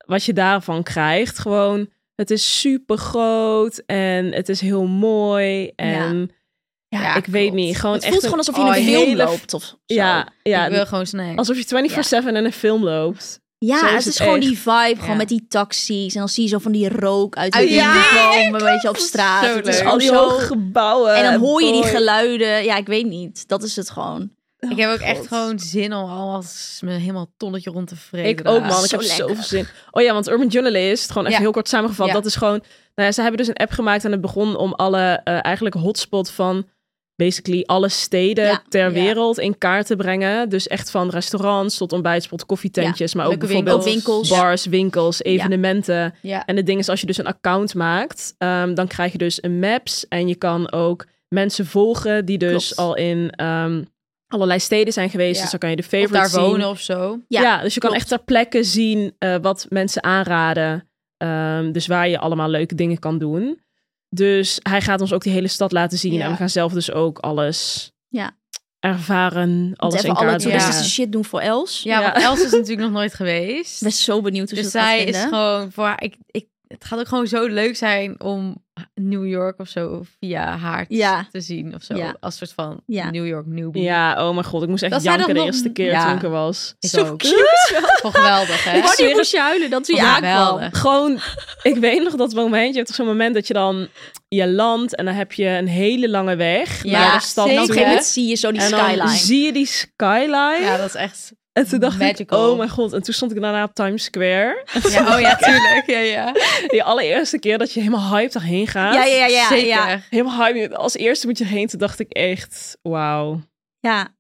wat je daarvan krijgt. Gewoon, het is super groot en het is heel mooi en ja, Ja, ik weet klopt. niet. Gewoon het echt voelt een- gewoon alsof je in een oh, film hele- loopt of zo. ja, ja, ik wil gewoon snacks. alsof je 24/7 in een film loopt. Ja, Zo is het is het gewoon echt. die vibe, gewoon Ja. met die taxis. En dan zie je zo van die rook uit de Uit die wind dingen, komen, weet je, op straat. Zo Het is leuk. gewoon Al die zo- hoge gebouwen. En dan hoor je die boy. geluiden. Ja, ik weet niet. Dat is het gewoon. ik heb ook echt Oh, God. gewoon zin om allemaal s- me helemaal een tonnetje rond te vreten. Ik ook, daar. man. Ik Zo heb lekker. zoveel zin. Oh ja, want Urban Journalist, gewoon even Ja. heel kort samengevat, Ja. dat is gewoon... Nou ja, ze hebben dus een app gemaakt en het begon om alle, eh, eigenlijk hotspot van basically alle steden Ja. ter Ja. wereld in kaart te brengen. Dus echt van restaurants tot ontbijtspot, koffietentjes, maar ook leuke bijvoorbeeld winkels. Ook winkels. bars, winkels, evenementen. Ja. En het ding is, als je dus een account maakt, ehm, dan krijg je dus een maps. En je kan ook mensen volgen die dus Klopt. al in ehm, allerlei steden zijn geweest. Ja. Dus dan kan je de Of favorites daar zien. wonen of zo. Ja, Ja, dus je kan klopt. echt ter plekke zien eh, wat mensen aanraden. Ehm, dus waar je allemaal leuke dingen kan doen. Dus hij gaat ons ook die hele stad laten zien. Ja. En we gaan zelf dus ook alles Ja. ervaren. Want Alles in even alle kaart brengen. toeristische Ja. shit doen voor Els. Ja, Ja. want Els is natuurlijk nog nooit geweest. Ik ben zo benieuwd hoe dus ze het gaat zij is vinden. gewoon voor haar- ik, ik, het gaat ook gewoon zo leuk zijn om New York of zo via haar te- Ja. te zien of zo. Ja. Als soort van Ja. New York newbie. Ja, oh mijn god. Ik moest echt Dat zij janken de dat nog- eerste keer Ja. toen ik er was. Ik Zo ook. cute. Toch geweldig, hè? zweer Ik wanneer het. moest je huilen? Dat ze je Ja, aankwam. geweldig. Gewoon, ik weet nog dat moment. Je hebt toch zo'n moment dat je dan... Je landt en dan heb je een hele lange weg Ja, naar de stad En op zeker. toe. een gegeven moment zie je zo die En dan skyline. zie je die skyline. Ja, dat is echt... En toen dacht Magical. ik, oh mijn god. En toen stond ik daarna op Times Square. Ja, oh ja, tuurlijk. Ja, ja. Die allereerste keer dat je helemaal hyped daarheen gaat. Ja, ja, ja, ja, Zeker. ja. Helemaal hyped. Als eerste moet je erheen. Toen dacht ik echt, wauw. Ja,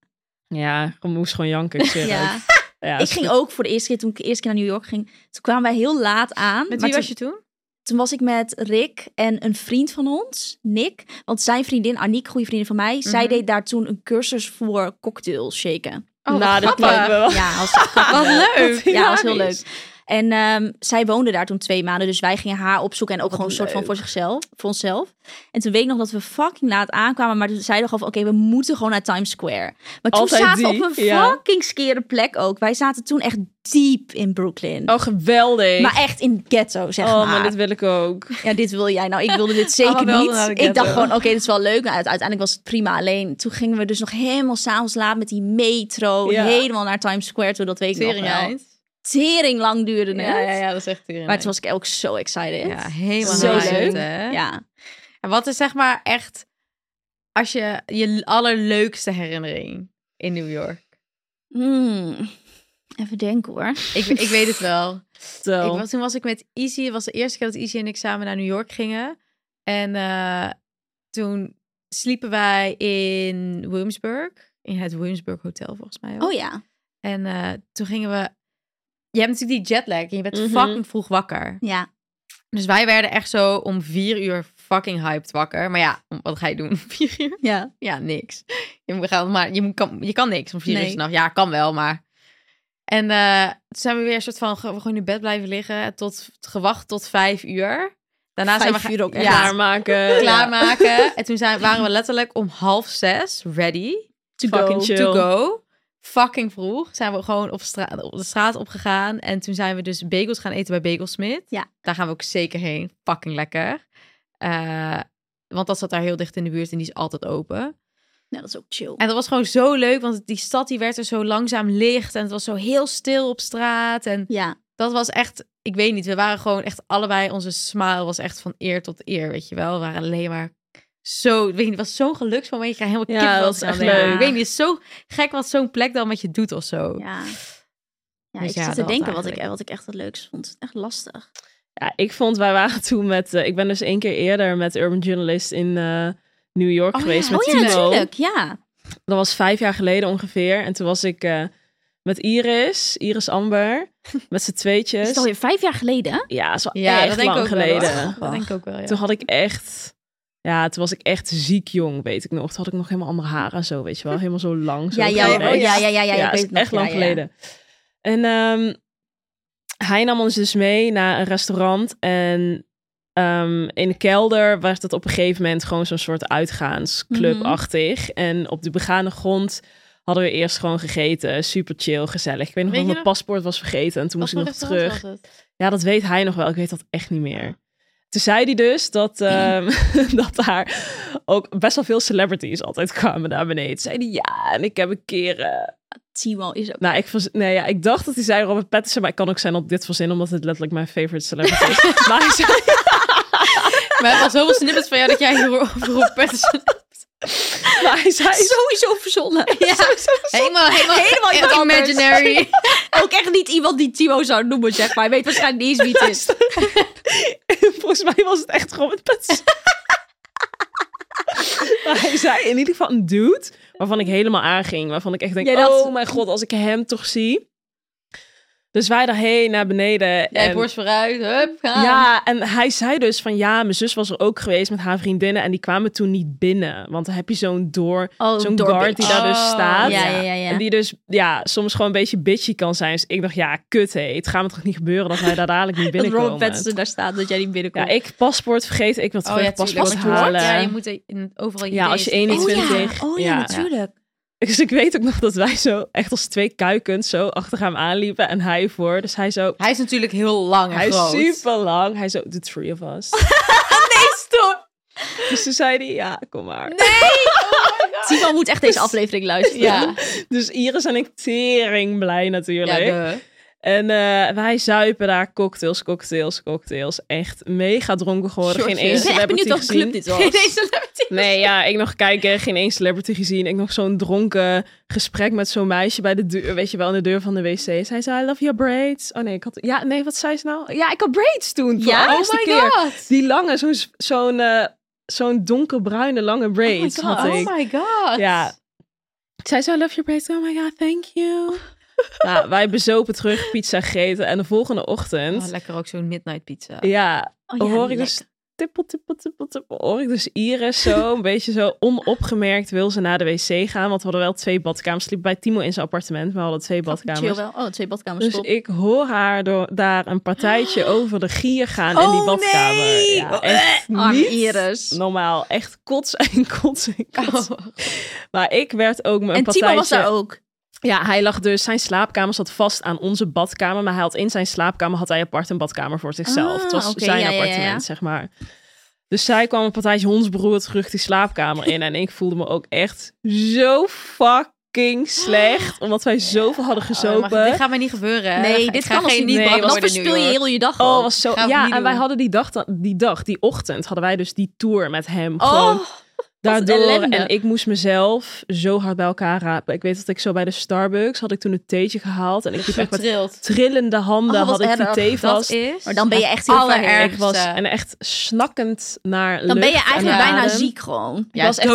Ja, ik moest gewoon janken. Ik, zweer ja. het. ja, Ik ging ook voor de eerste keer, toen ik de eerste keer naar New York ging, toen kwamen wij heel laat aan. Met Maar wie toen- was je toen? Toen was ik met Rick en een vriend van ons, Nick. Want zijn vriendin, Aniek, goede vriendin van mij, zij Mhm. deed daar toen een cursus voor cocktail shaken. Nou, dat Oh, grappig. lijkt me wel. Ja, als, Wat leuk. ja, was heel leuk. hilarisch. En ehm, zij woonde daar toen twee maanden. Dus wij gingen haar opzoeken. En ook gewoon een soort van leuk. voor zichzelf. Voor onszelf. En toen weet ik nog dat we fucking laat aankwamen. Maar toen zeiden we gewoon van, oké, we moeten gewoon naar Times Square. Maar toen Altijd zaten die, we op een ja. fucking skere plek ook. Wij zaten toen echt diep in Brooklyn. Oh, geweldig. Maar echt in ghetto, zeg oh, maar. maar dit wil ik ook. Ja, dit wil jij. Nou, ik wilde dit zeker Allemaal wel nou, naar de niet. Ik ghetto. dacht gewoon, oké, dit is wel leuk. Nou, uite- uiteindelijk was het prima. Alleen toen gingen we dus nog helemaal s'avonds laat met die metro. Ja. Helemaal naar Times Square toe. Dat weet ik nog wel. Tering Tering lang duurde het. Ja, ja, ja, dat is echt tering Maar toen was ik ook zo excited. Ja, helemaal Zo hyped, leuk. hè? Ja. En wat is zeg maar echt als je je allerleukste herinnering in New York? Hmm. Even denken hoor. Ik, ik weet het wel. Zo. Ik, was- toen was ik met Izzy. Het was de eerste keer dat Izzy en ik samen naar New York gingen. En eh, toen sliepen wij in Williamsburg. In het Williamsburg Hotel, volgens mij. ook. Oh ja. En eh, toen gingen we... Je hebt natuurlijk die jetlag. En je bent Mhm. fucking vroeg wakker. Ja. Dus wij werden echt zo om vier uur fucking hyped wakker. Maar ja, om- wat ga je doen om vier uur? Ja. Ja, niks. Je, moet gaan, maar je, moet- kan, je kan niks om vier uur Nee. s'nachts. Ja, kan wel, maar... En eh, toen zijn we weer een soort van ge- gewoon in bed blijven liggen. Tot, gewacht tot vijf uur. Daarna zijn we Vijf gaan- uur ook echt ja, Klaarmaken. klaarmaken. En toen zijn, waren we letterlijk om half zes ready To Fucking go. chill. to go. Fucking vroeg zijn we gewoon op, stra- op de straat opgegaan. En toen zijn we dus bagels gaan eten bij Bagelsmith. Ja. Daar gaan we ook zeker heen. Fucking lekker. Eh, want dat zat daar heel dicht in de buurt en die is altijd open. Nou, dat is ook chill. En dat was gewoon zo leuk, want die stad die werd er zo langzaam licht. En het was zo heel stil op straat. En Ja. dat was echt, ik weet niet, we waren gewoon echt allebei, onze smile was echt van eer tot eer, weet je wel. We waren alleen maar zo, ik weet niet, het was zo'n geluksmoment. Je krijgt helemaal Ja, kippenvel dat is te gaan echt denken. leuk. Ik weet niet, het is zo gek wat zo'n plek dan met je doet of zo. Ja. Ja, Dus ik ja, zat te dat denken wat ik, eigenlijk. wat ik echt het leukst vond. Echt lastig. Ja, ik vond, wij waren toen met, eh, ik ben dus één keer eerder met Urban Journalist in eh, New York Oh ja, geweest met oh ja, Timo. natuurlijk. Ja. Dus? Dat was vijf jaar geleden ongeveer. En toen was ik eh, met Iris, Iris Amber, met z'n tweetjes. Is het alweer vijf jaar geleden? Ja, is wel Ja, echt dat denk ik lang ook geleden. wel. hoor. Dat denk ik ook wel, ja. Toen had ik echt, ja, toen was ik echt ziek jong, weet ik nog. Toen had ik nog helemaal andere haren en zo, weet je wel. Helemaal zo lang. Zo Ja, ja, gekneed. ja, ja, ja, ja, ja, is ik weet het nog, echt lang ja, ja. geleden. En ehm, hij nam ons dus mee naar een restaurant. En ehm, in de kelder werd het op een gegeven moment gewoon zo'n soort uitgaansclubachtig. En op de begane grond hadden we eerst gewoon gegeten. Super chill, gezellig. Ik weet nog Weet je dat mijn nog- paspoort was vergeten en toen Wat moest ik nog voor restaurant terug. was het? Ja, dat weet hij nog wel. Ik weet dat echt niet meer. Toen zei hij dus dat, ehm, dat daar ook best wel veel celebrities altijd kwamen naar beneden. Toen zei hij, ja, en ik heb een keer... eh, Timo is ook. nou, ik, vers- nee, ja, ik dacht dat hij zei Robert Pattinson, maar het kan ook zijn dat ik dit verzin, omdat het letterlijk mijn favorite celebrity is. maar hij zei, We hebben al zoveel snippets van jou dat jij hier op Patterson... maar hij zei Sowieso verzonnen. Ja. Helemaal, helemaal, Helemaal echt iemand anders. imaginary. Ook echt niet iemand die Timo zou noemen, zeg maar. Hij weet waarschijnlijk niet eens wie het is. Volgens mij was het echt Robert Pattinson. maar hij zei in ieder geval een dude waarvan ik helemaal aanging. Waarvan ik echt denk, Jij dacht- oh mijn god, als ik hem toch zie. Dus wij daarheen naar beneden. Jij en, borst vooruit, hup, Oh, gaan. ja, en hij zei dus van ja, mijn zus was er ook geweest met haar vriendinnen. En die kwamen toen niet binnen. Want dan heb je zo'n door, Oh, zo'n door guard bitch. die daar dus Oh, staat. Ja, ja, ja. ja. En die dus ja, soms gewoon een beetje bitchy kan zijn. Dus ik dacht, ja, kut hé. Het gaat me toch niet gebeuren dat wij daar dadelijk niet dat binnenkomen. Robert Pattinson daar staat, dat jij niet binnenkomt. Ja, ik paspoort vergeten. Ik wil terug Oh, ja, tuurlijk, paspoort want je wordt- halen. Ja, je moet er in- overal je Ja, als je idee is- 21. Oh ja, oh, ja, Ja. natuurlijk. Dus ik weet ook nog dat wij zo echt als twee kuikens zo achter hem aanliepen en hij voor. Dus hij zo... Hij is natuurlijk heel lang en Hij is groot. super lang. Hij zo, the three of us. Dus toen zei hij, ja, kom maar. Timo moet echt deze aflevering luisteren. Ja. Dus Iris en ik tering blij natuurlijk. Ja, de... en eh, wij zuipen daar cocktails, cocktails, cocktails. Echt mega dronken geworden. Geen Shortjes. één Ik ben echt celebrity benieuwd welke gezien. club dit was. Nee, ja, ik nog kijken, geen één celebrity gezien. Ik nog zo'n dronken gesprek met zo'n meisje bij de deur, weet je wel, aan de deur van de wc. Zij zei, I love your braids. Oh nee, ik had, ja, nee, wat zei ze nou? Ja, ik had braids toen. voor Ja? de Oh eerste my keer. god. Die lange, zo'n zo'n eh, zo'n donkerbruine lange braids god. had ik. Oh my god. Ja. Zij zei, I love your braids. Oh my god, thank you. nou, wij bezopen terug, pizza gegeten. En de volgende ochtend, Oh, lekker ook zo'n midnight pizza. ja, Oh ja, hoor ik lekker. dus tippel, tippel, tippel, tippel oor. Dus Iris zo, een beetje zo onopgemerkt wil ze naar de wc gaan. Want we hadden wel twee badkamers. Sliep bij Timo in zijn appartement, maar we hadden twee Chill badkamers. wel. Oh, twee badkamers. Dus top. ik hoor haar door, daar een partijtje over de gier gaan in die Oh, badkamer. nee! Eh, Ja, echt Arme niet Iris. normaal. Echt kots en kots en kots. Maar ik werd ook mijn Oh. en partijtje... Timo was daar ook. Ja, hij lag dus, zijn slaapkamer zat vast aan onze badkamer. Maar hij had in zijn slaapkamer had hij apart een badkamer voor zichzelf. Ah, het was oké, zijn ja, ja, ja, appartement, ja. zeg maar. Dus zij kwam een partijtje hondsbroer terug die slaapkamer in. En ik voelde me ook echt zo fucking slecht. Omdat wij zoveel hadden Oh, maar gezopen. dit gaat mij niet gebeuren. hè. Nee, Ik dit ga kan ons geen niet Nee, bakken. want- Dan verspil je heel je dag Oh, al. was zo. Gaan we Ja, niet en wij doen. hadden die dag, dan- die dag, die ochtend, hadden wij dus die tour met hem. Gewoon Oh, een daardoor. ellende. En ik moest mezelf zo hard bij elkaar rapen. Ik weet dat ik zo bij de Starbucks had ik toen een theetje gehaald. En ik liep echt met Trilt. trillende handen Oh, wat had ik die erg. thee Dat vast. is... maar dan ben je echt heel Ik erg. allerergste. was en echt snakkend naar Dan ben je lucht en eigenlijk Ja. bijna adem. ziek gewoon. was echt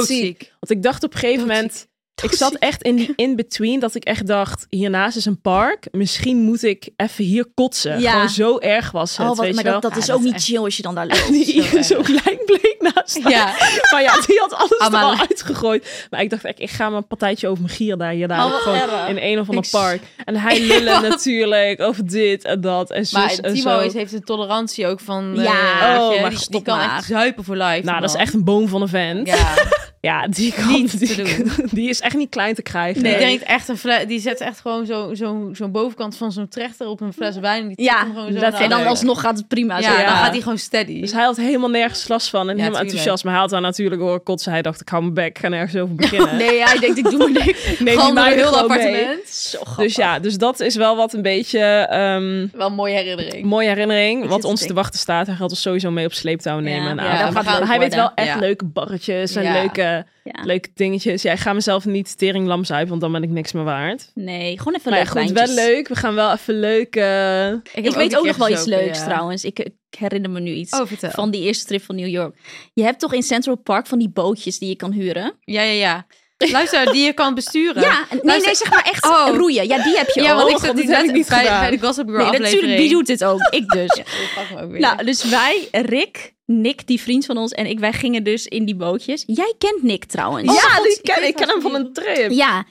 Want ik dacht op een gegeven Doodziek. moment... Ik zat echt in die in-between dat ik echt dacht... hiernaast is een park. Misschien moet ik even hier kotsen. Ja. Gewoon zo erg was het, Oh, wat, weet maar je wel. dat, dat Ja, is dat ook is niet echt- chill als je dan daar loopt. die Iris zo klein bleek naast haar. Ja. Maar ja, die had alles er Allemaal- al uitgegooid. Maar ik dacht, ik, ik ga mijn partijtje over mijn gier daar hierna. Oh, wat gewoon erg. in een of ander Ik- park. En hij lullen natuurlijk over dit en dat en zus Maar en Timo zo. is, heeft een tolerantie ook van... eh, Ja. weet Oh, je, maar die, die stop kan maar. echt zuipen voor life. Nou, dat is man. echt een boom van een vent. Ja, Ja. die, kan, Niet die, te doen. die is echt niet klein te krijgen. Die drinkt echt een fles... Die zet echt gewoon zo- zo'n zo, zo'n bovenkant van zo'n trechter op een fles wijn. En die tikt Ja, hem gewoon zo dat- naar En dan beneden. alsnog gaat het prima. Ja, zeg dan maar. gaat hij gewoon steady. Dus hij had helemaal nergens last van en helemaal tuurlijk. enthousiast. Maar hij had daar natuurlijk hoor kotsen. Hij dacht, ik hou mijn bek, ik ga nergens over beginnen. Nee, hij denkt, ik doe me niks. Neem die Gewoon door meiden heel gewoon mee. appartement. Zo grappig. Dus ja, dus dat is wel wat een beetje ehm, Wel een mooie herinnering. mooie herinnering. zit Wat te ons te denken. wachten staat. Hij gaat ons sowieso mee op sleeptouw nemen. Ja, en ja, aan. dat gaat maar leuk hij weet wel worden. echt Ja. leuke barretjes en Ja. leuke, Ja. leuke dingetjes. Ja, ik ga mezelf niet teringlam zuipen, want dan ben ik niks meer waard. Nee, gewoon even Maar ja, leuk goed, wijntjes. wel leuk. We gaan wel even leuk... eh, Ik, weet ook nog wel iets leuks trouwens. trouwens. Ik, ik herinner me nu iets. Oh, vertel. Van die eerste trip van New York. Je hebt toch in Central Park van die bootjes die je kan huren? Ja, ja, ja. Luister, die je kan besturen. Ja, nee, nee, Luister- zeg maar echt Oh. roeien. Ja, die heb je Ja, ook. want ik God, zat dit die heb net ik niet bij, gedaan. bij de Gossip Girl Nee, aflevering. natuurlijk, wie doet dit ook? Ik dus. Ik pak me ook weer. Nou, dus wij, Rick, Nick, die vriend van ons en ik, wij gingen dus in die bootjes. Jij kent Nick trouwens. ja, die Oh, ik ken, weet ik ken wel hem wie van een trip. Ja.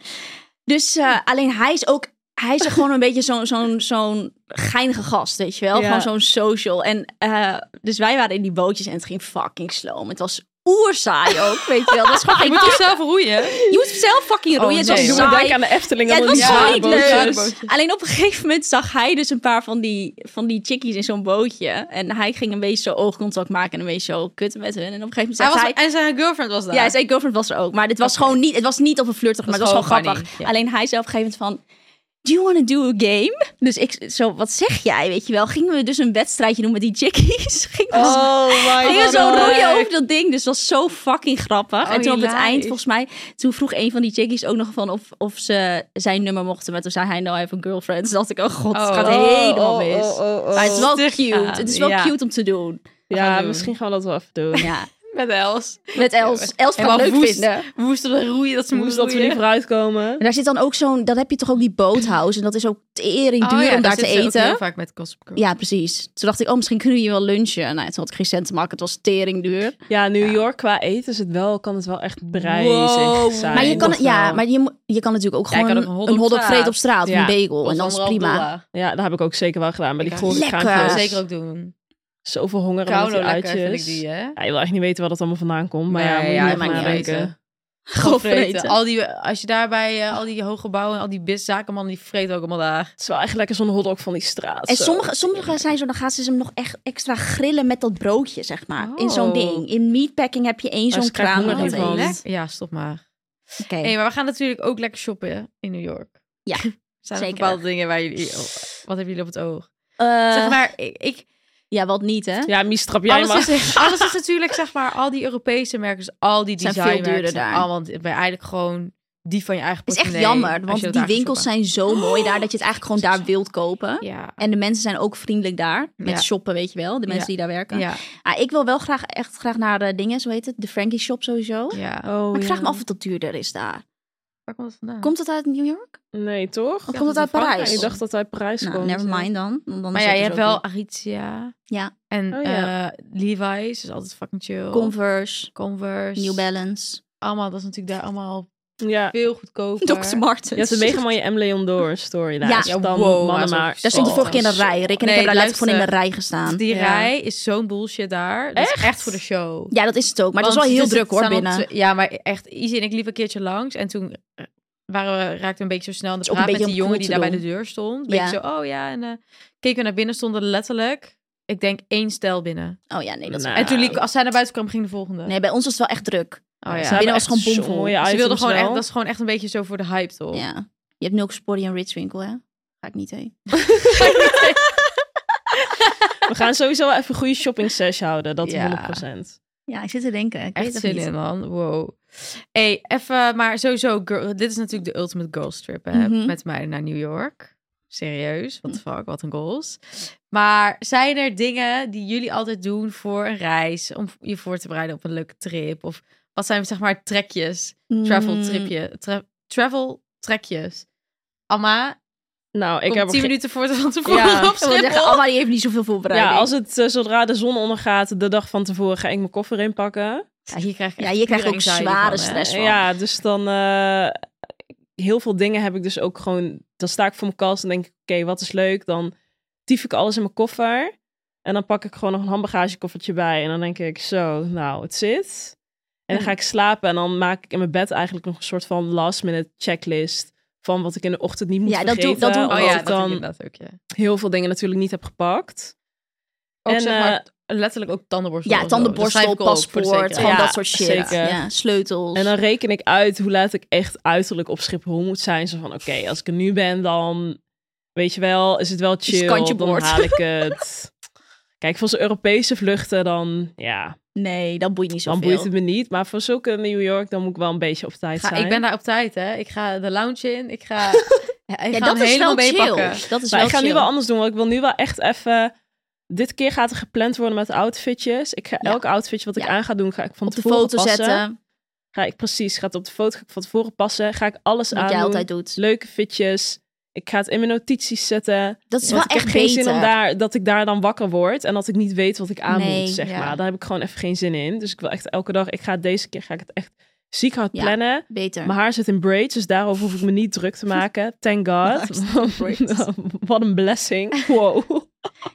Dus eh, alleen hij is ook, hij is gewoon een beetje zo'n zo'n zo'n geinige gast, weet je wel? Ja. Gewoon zo'n social. En eh, dus wij waren in die bootjes en het ging fucking slow. Het was oerzaai ook, weet je wel? Dat is gewoon je geen moet toch zelf roeien? Je moet zelf fucking roeien. het nee, was joh. Doe saai. me denken aan de Efteling. Ja, het allemaal was die gewoon Ja, niet zwaarbootjes. leuk. bootjes. Alleen op een gegeven moment zag hij dus een paar van die, van die chickies in zo'n bootje. En hij ging een beetje zo oogcontact maken en een beetje zo kutten met hun. En op een gegeven moment Hij zegt was, hij... en zijn girlfriend was daar. Ja, zijn girlfriend was er ook. Maar dit was gewoon niet, het was niet op een flirtig, maar Dat het was was gewoon gewoon grappig. funny, ja. Alleen hij zei op een gegeven moment van... Do you want to do a game? Dus ik zo, wat zeg jij, weet je wel? Gingen we dus een wedstrijdje doen met die chickies? Gingen we zo- Oh my Gingen god. zo roeien over dat ding. Dus dat was zo fucking grappig. en toen op het hilarisch. eind, volgens mij, toen vroeg een van die chickies ook nog van of, of ze zijn nummer mochten. Maar toen zei hij, nou, I have a girlfriend. Dus dacht ik, oh god, het Oh. gaat Oh, helemaal oh, mis. oh, oh, oh. Maar het is wel Stug cute. gaan, Het is wel ja. cute om te doen. Ja, gaan doen. misschien gaan we dat wel even doen. Ja. met Els. Met Els. Els gaat Helemaal het leuk woest. Oh, vinden. We moesten er roeien dat ze Moest moesten dat we niet vooruitkomen. En daar zit dan ook zo'n, dat heb je toch ook die boothouse. En dat is ook Oh tering duur om daar te eten. vaak met Gossip Girl. Ja, precies. Toen dacht ik, oh, misschien kunnen we hier wel lunchen. Nou, toen had ik geen cent te maken. Het was tering duur. Ja, New York qua eten is het wel, kan het wel echt prijzig Wow. zijn. Maar je kan, nog ja, wel. maar je, moet- je kan natuurlijk ook Ja, je gewoon kan ook een een hotdog hotdog, op straat. vreten op straat. Of Ja. een bagel. Of oh, eh, En dat is anderhalf prima. dollar. ja, dat heb ik ook zeker wel gedaan. Maar die Ik gore lekker. kraampjes. Ja. Zeker ook doen. Zoveel honger en met Kauno die lekker vind ik uitjes. die, hè? Ja, je wil echt niet weten waar dat allemaal vandaan komt. Maar ja, Nee, moet je ja, nog maakt maar niet uit, denken. Gewoon Gewoon vreten. vreten. Al die, als je daarbij eh, al die hoge bouwen, al die bis- zakenmannen, die vreten ook allemaal daar. Het is wel echt lekker zo'n hotdog van die straat. eh. En zo. sommige, sommige zijn zo, dan gaan ze hem nog echt extra grillen met dat broodje, zeg maar. In zo'n Oh. ding. In meatpacking heb je één Maar ze zo'n krijgen kraan. honger waar dat hiervan. Oh, eet. Lekker. Ja, stop maar. Oké. Nee, maar we gaan natuurlijk ook lekker shoppen in New York. Ja, Zijn er zeker. bepaalde dingen waar jullie... oh, wat hebben jullie op het oog? Eh, zeg maar, ik... ik Ja, wat niet, hè? Ja, Mistrap, jij mag. alles, is, alles is natuurlijk, zeg maar, al die Europese merken, dus al die Zijn veel designmerken... duurder zijn daar. Allemaal, bij eigenlijk gewoon die van je eigen Het is echt portemonnee, jammer, als je want dat die daar gaat winkels shoppen. zijn zo mooi daar dat je het eigenlijk gewoon daar wilt kopen. Ja. En de mensen zijn ook vriendelijk daar. Met Ja. shoppen, weet je wel. De mensen Ja. die daar werken. Ja, Ah, ik wil wel graag, eh, echt graag naar de dingen, zo heet het. De Frankie Shop sowieso. ja. Oh, maar ik vraag ja. me af of dat duurder is daar. Waar komt dat vandaan? Komt het uit New York? Nee, toch? Of komt het uit Parijs? Ik dacht dat hij Parijs Nou, komt. never mind dan. want dan maar is ja, dat je dus hebt ook wel niet. Aritzia. Ja. En Oh, eh ja. Levi's is altijd fucking chill. Converse, Converse. New Balance, Allemaal, dat is natuurlijk daar allemaal Ja. veel goedkoper. Dr. Martens. Je had het meegemaakt in je M. Leon Door story. Ja. Ja, dan mannen maar. Daar stond de vorige keer in een rij. Rick en Nee, ik hebben daar letterlijk luister. gewoon in de rij gestaan. Die Ja. rij is zo'n bullshit daar. Dat is echt voor de show. Ja, dat is het ook. Maar Want het is wel heel het druk hoor staan al binnen. twee- ja, maar echt, Izzy en ik liepen een keertje langs. En toen eh, waren we, raakten we een beetje zo snel aan de Is ook een praat met beetje die jongen om cool die te daar bij de doen. deur stond. Beetje Ja. zo, oh ja. En eh, keken we naar binnen, stonden letterlijk, ik denk één stijl binnen. Oh ja, nee, dat is Nou, En toen Ah. liep, als zij naar buiten kwam, ging de volgende. Nee, bij ons was het wel echt druk. oh, ja. ze binnen was gewoon bomvol. Ze wilden gewoon echt, dat is gewoon echt een beetje zo voor de hype, toch? Ja. Je hebt Nulkspori en Ritwinkel, hè? Ga ik niet heen. We gaan sowieso wel even een goede shopping sessie houden. Dat Ja. 100%. Ja, ik zit te denken. Ik weet Echt het zin niet. in, man. Wow. hey, even, maar sowieso, girl, dit is natuurlijk de ultimate girls trip, hè. Mhm. Met mij naar New York. Serieus, what the fuck, wat een goals. Maar zijn er dingen die jullie altijd doen voor een reis, om je voor te bereiden op een leuke trip? Of wat zijn, zeg maar, trekjes, travel Mm, tripje, tra- travel trekjes? Amma, Nou, ik ik heb heb op tien ge- minuten voor van tevoren Ja. op Ik wil zeggen, Schiphol. Alma die heeft niet zoveel voorbereiding. Ja, als het eh, zodra de zon ondergaat, de dag van tevoren, ga ik mijn koffer inpakken. Ja, hier krijg je, Ja, echt hier krijg je pure ook anxiety zware van, hè. stress van. Ja, dus dan eh, heel veel dingen heb ik dus ook gewoon. Dan sta ik voor mijn kast en denk ik, oké, wat is leuk? Dan tief ik alles in mijn koffer. En dan pak ik gewoon nog een handbagagekoffertje bij. En dan denk ik, zo, nou, het zit. En dan ga ik slapen en dan maak ik in mijn bed eigenlijk nog een soort van last minute checklist van wat ik in de ochtend niet moet Ja, dat doe- vergeten. dat doe ik Oh omdat ja, ik dat dan... dan inderdaad ook, ja. heel veel dingen natuurlijk niet heb gepakt. Ook En, zeg maar, letterlijk ook tandenborstel. eh, Ja, of zo. Dat tandenborstel, schrijf ik ook voor de paspoort, gewoon zekerheid. Ja, dat soort shit. zeker. Ja, sleutels. En dan reken ik uit hoe laat ik echt uiterlijk op Schiphol moet zijn. Zo van, oké, als ik er nu ben, dan weet je wel, is het wel het chill. kantje dan boord. haal ik het. Kijk, voor zo'n Europese vluchten, dan, ja, Nee, dat boeit niet dan zoveel. boeit het me niet. Maar voor zulke New York, dan moet ik wel een beetje op tijd Ga, zijn. ik ben daar op tijd, hè. Ik ga de lounge in. Ik ga, ja, ik ja, ga dat hem is helemaal wel chill. meepakken. Dat is maar dus wel ik ga chill. nu wel anders doen, want ik wil nu wel echt even... Dit keer gaat er gepland worden met outfitjes. Ik ga Ja. elk outfitje wat ik Ja. aan ga doen, ga ik van op de tevoren foto passen. zetten, Ga ik precies, gaat op de foto ga ik van tevoren passen. Ga ik alles aan wat jij altijd doet. leuke fitjes. Ik ga het in mijn notities zetten. Dat is wel want ik echt heb geen zin om beter. daar, dat ik daar dan wakker word. En dat ik niet weet wat ik aan Nee, moet, zeg ja. maar. Daar heb ik gewoon even geen zin in. Dus ik wil echt elke dag... Ik ga het deze keer ga ik het echt ziek hard Ja. plannen. Beter. Mijn haar zit in braids, dus daarover hoef ik me niet druk te maken. Thank God. Wat een blessing. Wow.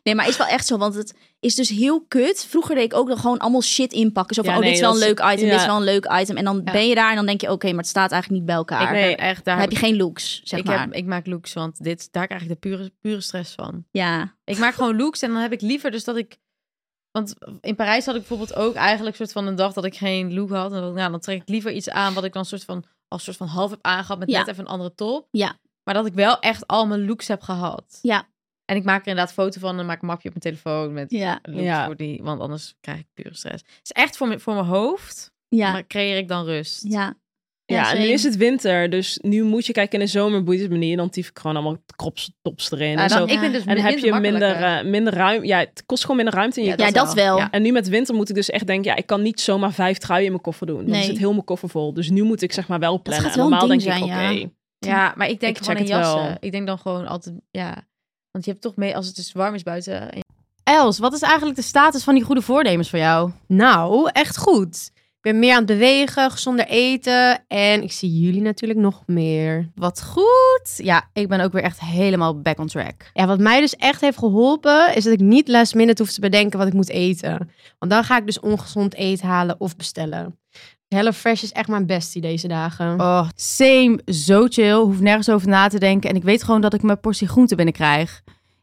Nee, maar is wel echt zo, want het is dus heel kut. Vroeger deed ik ook nog gewoon allemaal shit inpakken. Zo van, Ja, oh, nee, dit is wel een dat is- leuk item, ja. dit is wel een leuk item. En dan Ja. ben je daar en dan denk je, oké, maar het staat eigenlijk niet bij elkaar. Ik Nee. ben echt, daar Dan heb je geen looks, zeg ik, maar. heb, ik maak looks, want dit, daar krijg ik de pure, pure stress van. Ja, Ik maak gewoon looks en dan heb ik liever dus dat ik... Want in Parijs had ik bijvoorbeeld ook eigenlijk soort van een dag dat ik geen look had. En dan, nou, dan trek ik liever iets aan wat ik dan soort van, als soort van half heb aangehad met Ja. net even een andere top. Ja. Maar dat ik wel echt al mijn looks heb gehad. Ja. En ik maak er inderdaad foto van en maak een mapje op mijn telefoon met ja, looks Ja. voor die, want anders krijg ik pure stress. Het is echt voor, mijn- voor mijn hoofd, ja, maar creëer ik dan rust. ja. Ja, en nu same. is het winter. Dus nu moet je kijken in de zomer boeit het me niet. En dan tief ik gewoon allemaal krops, tops erin. Ja, en dan- zo. ik ben dus En dan heb je minder, makkelijker. eh, minder ruimte. Ja, het kost gewoon minder ruimte in je Ja, Ja, dat dat wel. wel. Ja. En nu met winter moet ik dus echt denken, ja, ik kan niet zomaar vijf truien in mijn koffer doen. Dan Nee. zit heel mijn koffer vol. Dus nu moet ik zeg maar wel plannen. gaat En wel een normaal denk ding ik, oké. zijn, ja. Ja, maar ik denk Ik gewoon aan check het wel. jassen. Ik denk dan gewoon altijd, ja. Want je hebt toch mee, als het dus warm is buiten. en- Els, wat is eigenlijk de status van die goede voornemens voor jou? Nou, echt goed. Ik ben meer aan het bewegen, gezonder eten en ik zie jullie natuurlijk nog meer. Wat goed. Ja, ik ben ook weer echt helemaal back on track. Ja, wat mij dus echt heeft geholpen is dat ik niet last minute hoef te bedenken wat ik moet eten. Want dan ga ik dus ongezond eten halen of bestellen. HelloFresh is echt mijn bestie deze dagen. Oh, same. Zo chill. Hoef nergens over na te denken. En ik weet gewoon dat ik mijn portie groente binnenkrijg.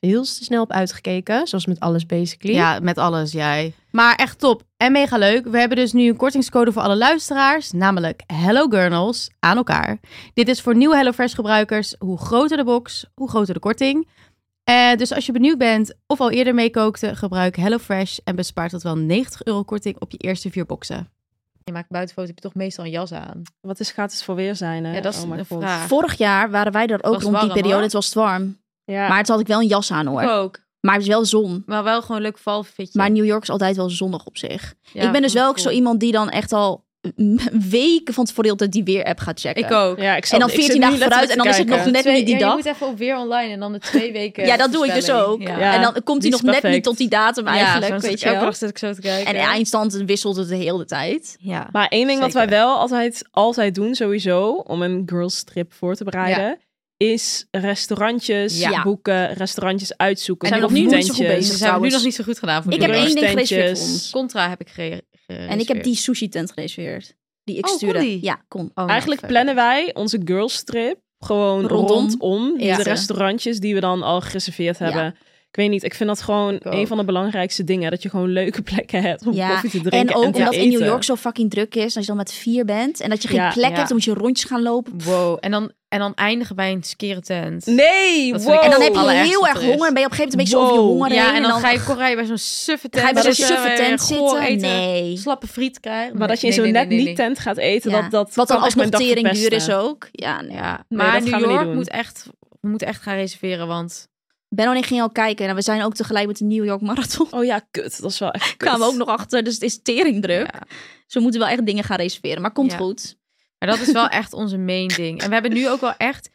heel snel op uitgekeken. Zoals met alles basically. Ja, met alles, jij. Maar echt top en mega leuk. We hebben dus nu een kortingscode voor alle luisteraars, namelijk Hello Gurnals aan elkaar. Dit is voor nieuwe HelloFresh gebruikers. Hoe groter de box, hoe groter de korting. Eh, dus als je benieuwd bent of al eerder meekookte, gebruik HelloFresh en bespaart tot wel 90 euro korting op je eerste vier boxen. Je maakt buitenfoto, heb je toch meestal een jas aan? Wat is gratis voor weer zijn? Hè? Ja, dat is Oh my een god. vraag. Vorig jaar waren wij er ook Was rond die warm, periode. hoor. Oh. Het was warm. Ja. Maar toen had ik wel een jas aan hoor. Ik ook. Maar het is wel zon. Maar wel gewoon een leuk valfitje. Maar New York is altijd wel zonnig op zich. Ja, ik ben dus voel wel ik ook zo voel. iemand die dan echt al mm, weken van tevoren altijd die weer-app gaat checken. Ik ook. Ja, ik zat- En dan ik zit 14 dagen nu vooruit en letterlijk dan is te het nog kijken. net Twee- niet die ja, dag. Je moet even op weer online en dan de twee weken. Ja, dat doe ik dus voorspelling. ook. Ja. en dan komt die hij is nog net perfect. niet tot die datum eigenlijk, zo'n- weet je elke wel. dag zit ik zo te kijken. En in eindstand wisselt het de hele tijd. ja. Maar één ding wat Zeker. wij wel altijd, altijd doen, sowieso, om een girls trip voor te bereiden, is restaurantjes Ja. boeken, restaurantjes uitzoeken. En of zijn we nog niet zo goed tentjes. bezig Ze zijn dus we nu trouwens. nog niet zo goed gedaan. Voor Ik heb jullie. één ding Rustentjes. gereserveerd voor ons. Contra heb ik gere- gereserveerd. En ik heb die sushi-tent gereserveerd. Die ik Oh, kon stuurde. die? Ja, kon. Oh, nou, Eigenlijk vet. plannen wij onze girls trip gewoon Rondom. rondom, Ja. de restaurantjes die we dan al gereserveerd hebben. Ik weet niet, ik vind dat gewoon een ook. van de belangrijkste dingen. Dat je gewoon leuke plekken hebt om Ja, koffie te drinken. En ook te omdat in eten. New York zo fucking druk is. Als je dan met vier bent en dat je geen Ja, plek ja. hebt, dan moet je rondjes gaan lopen. Wow. En dan, en dan eindigen bij een skere tent. Nee, Dat wow. vind ik En dan Oh, heb je allerergste heel wat erg er is. honger en ben je op een gegeven moment een beetje over je Wow. honger Ja, heen. en dan ga je ga Corrij bij zo'n suffe je tent. bij zo'n zitten, suffe eh, tent goor zitten. eten, Nee. Slappe friet krijgen. Maar dat je in Nee, zo'n nee, net nee, nee, niet nee. tent gaat eten, Ja. dat, dat Wat dan kan echt mijn alsnog dag tering duur is verpesten. ook. Ja, nee. Ja, Nee, maar dat New gaan we niet York doen. moet echt, we moeten echt gaan reserveren, want Ben al niet ging al kijken. Nou, we zijn ook tegelijk met de New York Marathon. Oh ja, kut. Dat is wel echt kut. kwamen we ook nog achter. Dus het is teringdruk. Ja. Dus we moeten wel echt dingen gaan reserveren. Maar komt Ja. goed. Maar dat is wel echt onze main ding. En we hebben nu ook wel echt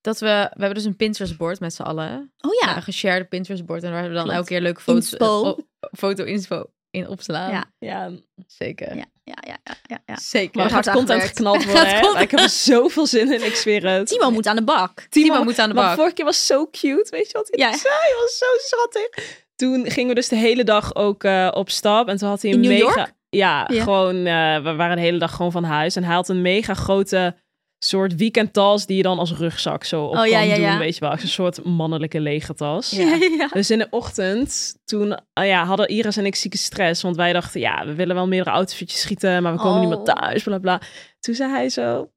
dat we... We hebben dus een Pinterest-board met z'n allen. Oh Ja. ja. Een geshared Pinterest-board. En daar hebben we dan Klopt. elke keer leuke foto's... Inspo. eh, op- Foto-inspo in opslaan. Ja. Ja, Zeker. Ja, ja, ja, ja, ja, ja. Zeker. maar er hard gaat content aangewerkt. geknald worden. hè? Ik heb er zoveel zin in, ik zweer het. Timo moet aan de bak. Timo, moet aan de Maar bak. vorige keer was zo cute, weet je wat hij Ja. zei? Hij was zo schattig. Toen gingen we dus de hele dag ook eh, op stap. En toen had hij een In New mega... York? Ja, Ja. gewoon, eh, we waren de hele dag gewoon van huis. En hij had een mega grote soort weekendtas die je dan als rugzak zo op Oh, ja, kan ja, doen. ja. Weet je wel, als een soort mannelijke lege tas. ja. Dus in de ochtend, toen ah ja, hadden Iris en ik zieke stress. Want wij dachten, ja, we willen wel meerdere outfitjes schieten, maar we komen niet Oh. meer thuis, bla bla. Toen zei hij zo,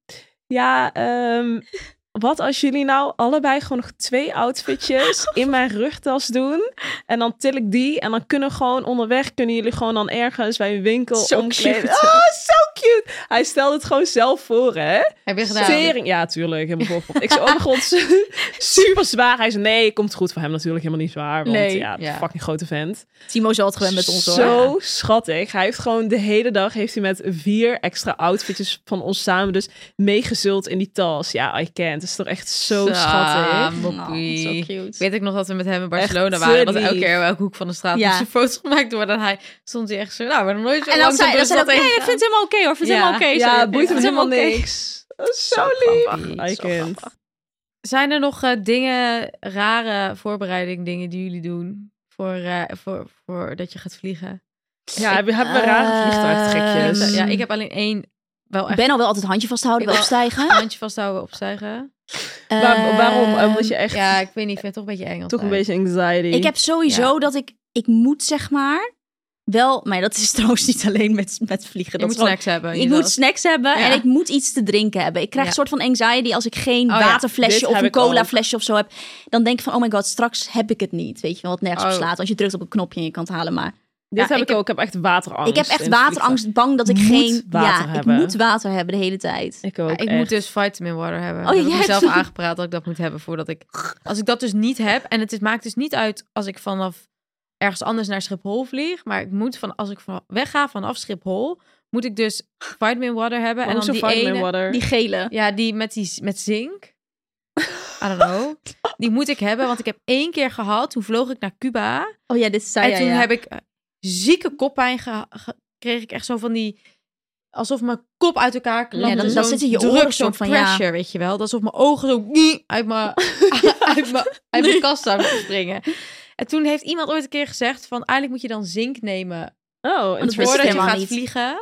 ja, ehm, wat als jullie nou allebei gewoon nog twee outfitjes in mijn rugtas doen? En dan til ik die en dan kunnen we gewoon onderweg, kunnen jullie gewoon dan ergens bij een winkel Zo omkleden. cute. Oh, zo cute! Hij stelde het gewoon zelf voor, hè? Heb je gedaan? Tering. Ja, tuurlijk. Helemaal volgepompt. Ik zei, oh mijn god, super zwaar. Hij zei, nee, komt goed voor hem natuurlijk helemaal niet zwaar. Want Nee. ja, Ja. fucking grote vent. Timo is wel het gewend met ons hoor. Zo schattig. Hij heeft gewoon de hele dag heeft hij met vier extra outfitjes van ons samen dus meegezult in die tas. Ja, I can't. Het is toch echt zo Zo, schattig. moppie. Ah, zo cute. Weet ik nog dat we met hem in Barcelona Echt waren. te Dat elke lief. keer in elke hoek van de straat Ja. moesten foto's gemaakt worden. En hij stond hij echt zo, nou, we hebben nog nooit zo En dan langs zei de dan bus zei hij ook, wat nee, ik tegen- vind hem oké hoor. Ik Vind hem Ja. oké. Ja, boeit hem Vind hem helemaal oké. niks. Dat is Zo lief. I Zo can't. Zijn er nog eh, dingen, rare voorbereiding dingen die jullie doen voor, eh, voor, voor dat je gaat vliegen? Ja, hebben hebben we rare vliegtuigtrekjes. Ehm, Ja, ik heb alleen één wel echt Ben al wel altijd handje vasthouden bij Ik wel- opstijgen. een handje vasthouden, opstijgen. Waar- waarom? Eh, Omdat Ehm, je echt Ja, ik weet niet, ik vind het toch een beetje eng toch een altijd. beetje anxiety. Ik heb sowieso dat ik, ik moet zeg maar, wel, maar dat is trouwens niet alleen met, met vliegen. Je dat moet is gewoon- snacks hebben. ik moet snacks hebben eh, Ja. en ik moet iets te drinken hebben. Ik krijg Ja. een soort van anxiety als ik geen Oh ja, waterflesje dit of heb een ik ook. cola flesje of zo heb. Dan denk ik van, oh my god, straks heb ik het niet. Weet je wel, wat nergens op Oh. slaat. Als je drukt op een knopje en je kan het halen. Maar Dit Ja, heb ik ik, heb- ook. Ik heb echt waterangst. ik heb echt in het vliegtuig. waterangst, bang dat ik Moet geen... water ja, hebben. ik moet water hebben de hele tijd. Ik ook. Ja, ik echt. moet dus vitamin water hebben. Oh, Oh, ik jij heb mezelf hebt- aangepraat dat ik dat moet hebben voordat ik... Als ik dat dus niet heb... En het is- maakt dus niet uit als ik vanaf ergens anders naar Schiphol vlieg. Maar ik moet van... Als ik van, wegga vanaf Schiphol... Moet ik dus vitamin water hebben. en en dan die ene... water. Die gele. Ja, die met, die met zink. I don't know. Die moet ik hebben, want ik heb één keer gehad. Toen vloog ik naar Cuba. Oh ja, dit zei en jij, toen ja. heb ik eh, zieke koppijn ge- ge- kreeg ik echt zo van die alsof mijn kop uit elkaar klapte. Ja, dan- dan Zo'n zit in je druk, oren zo'n soort van, ja. pressure, weet je wel. Dat is Alsof mijn ogen zo nie- uit mijn uit mijn uit mijn kast zouden springen. En toen heeft iemand ooit een keer gezegd van eigenlijk moet je dan zink nemen Oh, dat wist ik voordat je helemaal gaat niet. vliegen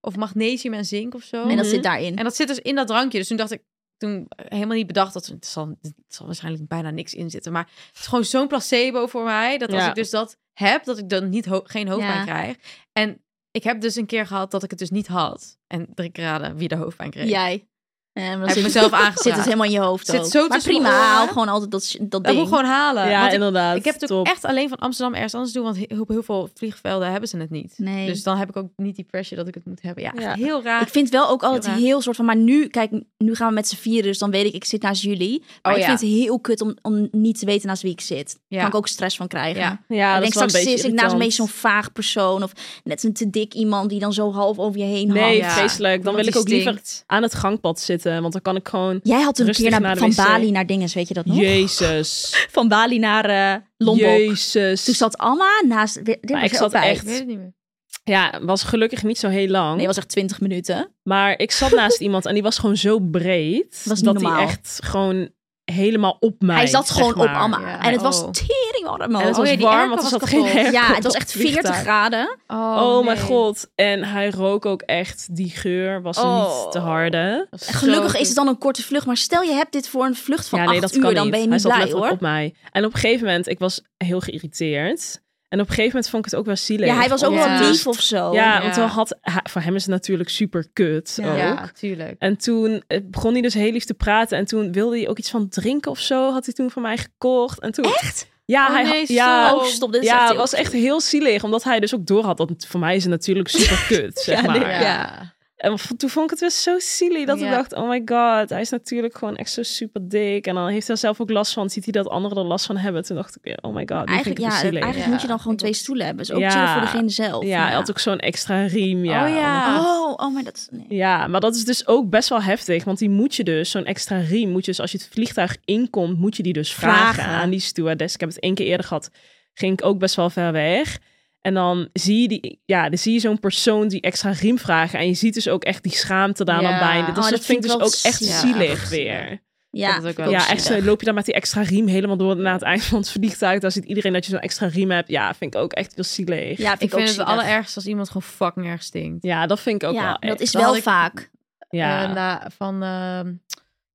of magnesium en zink of zo. En dat Mhm. zit daarin. En dat zit dus in dat drankje. Dus toen dacht ik, toen helemaal niet bedacht dat het zal, het zal waarschijnlijk bijna niks in zitten. Maar het is gewoon zo'n placebo voor mij. Dat als Ja. ik dus dat heb, dat ik dan niet ho- geen hoofdpijn Ja. krijg. En ik heb dus een keer gehad dat ik het dus niet had. En drie keer raden wie de hoofdpijn kreeg. Jij. En dan Heb ik zit- mezelf Zit aangezet. het helemaal in je hoofd Zit ook. zo maar tussen mijn prima, oren. haal gewoon altijd dat, dat Dat ding. moet ik gewoon halen. Ja, Want ik, inderdaad. ik heb het ook top. echt alleen van Amsterdam ergens anders doen. Want he- op heel veel vliegvelden hebben ze het niet. Nee. Dus dan heb ik ook niet die pressure dat ik het moet hebben. Ja, echt Ja. heel raar. Ik vind wel ook altijd Heel raar. heel soort van... Maar nu, kijk, nu gaan we met z'n vieren. Dus dan weet ik, ik zit naast jullie. Maar Oh, ik ja. vind het heel kut om, om niet te weten naast wie ik zit. Daar Ja. kan ik ook stress van krijgen. Ja. Ja, dat ik denk is wel een straks beetje zit ik naast een beetje zo'n irritant. vaag persoon. Of net een te dik iemand die dan zo half over je heen hangt. Nee, Ja. vreselijk. Dan wil ik ook liever Stinkt. aan het gangpad zitten. Want dan kan ik gewoon... Jij had een Rustig keer naar, naar de van wc. Bali naar dinges, weet je dat nog? Jezus. Van Bali naar eh Lombok. Jezus. Toen zat Anna naast... Dit was Maar ik jij zat ook bij. echt... Ik weet het niet meer. Ja, was gelukkig niet zo heel lang. Nee, het was echt 20 minuten. Maar ik zat naast iemand en die was gewoon zo breed. Was niet dat hij normaal. echt gewoon helemaal op mij. Hij zat zeg gewoon op maar. Anna. Ja. En het was Oh. tering warm. En het ook. was ja, die warm, airco want er was zat kapot. geen airco ja, het op was dat echt 40 vliegtuig. graden. Oh, mijn nee. god. En hij rook ook echt. Die geur was Oh. niet te harde. Dat En zo gelukkig is goed. het dan een korte vlucht. Maar stel je hebt dit voor een vlucht van ja, 8 nee, dat uur, kan dan niet. ben je hij niet zat blij letterlijk hoor. op mij. En op een gegeven moment, ik was heel geïrriteerd. En op een gegeven moment vond ik het ook wel zielig. Ja, hij was ook Ja. wel lief of zo. Ja, Ja. want dan had, hij- voor hem is het natuurlijk super kut Ja. ook. Ja, tuurlijk. En toen eh, begon hij dus heel lief te praten. En toen wilde hij ook iets van drinken of zo. Had hij toen van mij gekocht. En toen, Echt? Ja, Oh hij nee, had- zo. ja, Oh, stop. Dit is ja, echt het heel was echt heel zielig. Omdat hij dus ook door had. Dat voor mij is het natuurlijk super kut, zeg maar. Ja. En v- toen vond ik het wel zo silly dat ik Ja. dacht, oh my god, hij is natuurlijk gewoon echt zo super dik. En dan heeft hij er zelf ook last van, ziet hij dat anderen er last van hebben. Toen dacht ik, weer, oh my god, nu vind Eigenlijk, ik het ja, wel zielig. eigenlijk moet je dan gewoon twee stoelen hebben. Dus ook Ja. chill voor degene zelf. ja, hij had ook zo'n extra riem, ja. Oh ja. Oh, oh, maar dat is... Nee. Ja, maar dat is dus ook best wel heftig, want die moet je dus, zo'n extra riem, moet je dus als je het vliegtuig inkomt, moet je die dus vragen, Vragen. aan die stewardess. Ik heb het één keer eerder gehad, ging ik ook best wel ver weg. En dan zie je, die, ja, dan zie je zo'n persoon die extra riem vragen en je ziet dus ook echt die schaamte daar dan Ja. bij. Dus Oh, dat, dat vind ik vind dus ik ook wel echt zielig. zielig weer. Ja, Dat is ook wel vind ik Ja, echt zielig. zo, loop je daar met die extra riem helemaal door naar het eind van het vliegtuig. Daar ziet iedereen dat je zo'n extra riem hebt. Ja, vind ik ook echt heel zielig. Ja, Ik Ja, vind ik, ook vind het het zielig. allerergst als iemand gewoon fucking erg stinkt. dat vind ik ook Ja, wel dat echt. is Dan wel nou, had ik- vaak. ja. Eh, na- van ehm,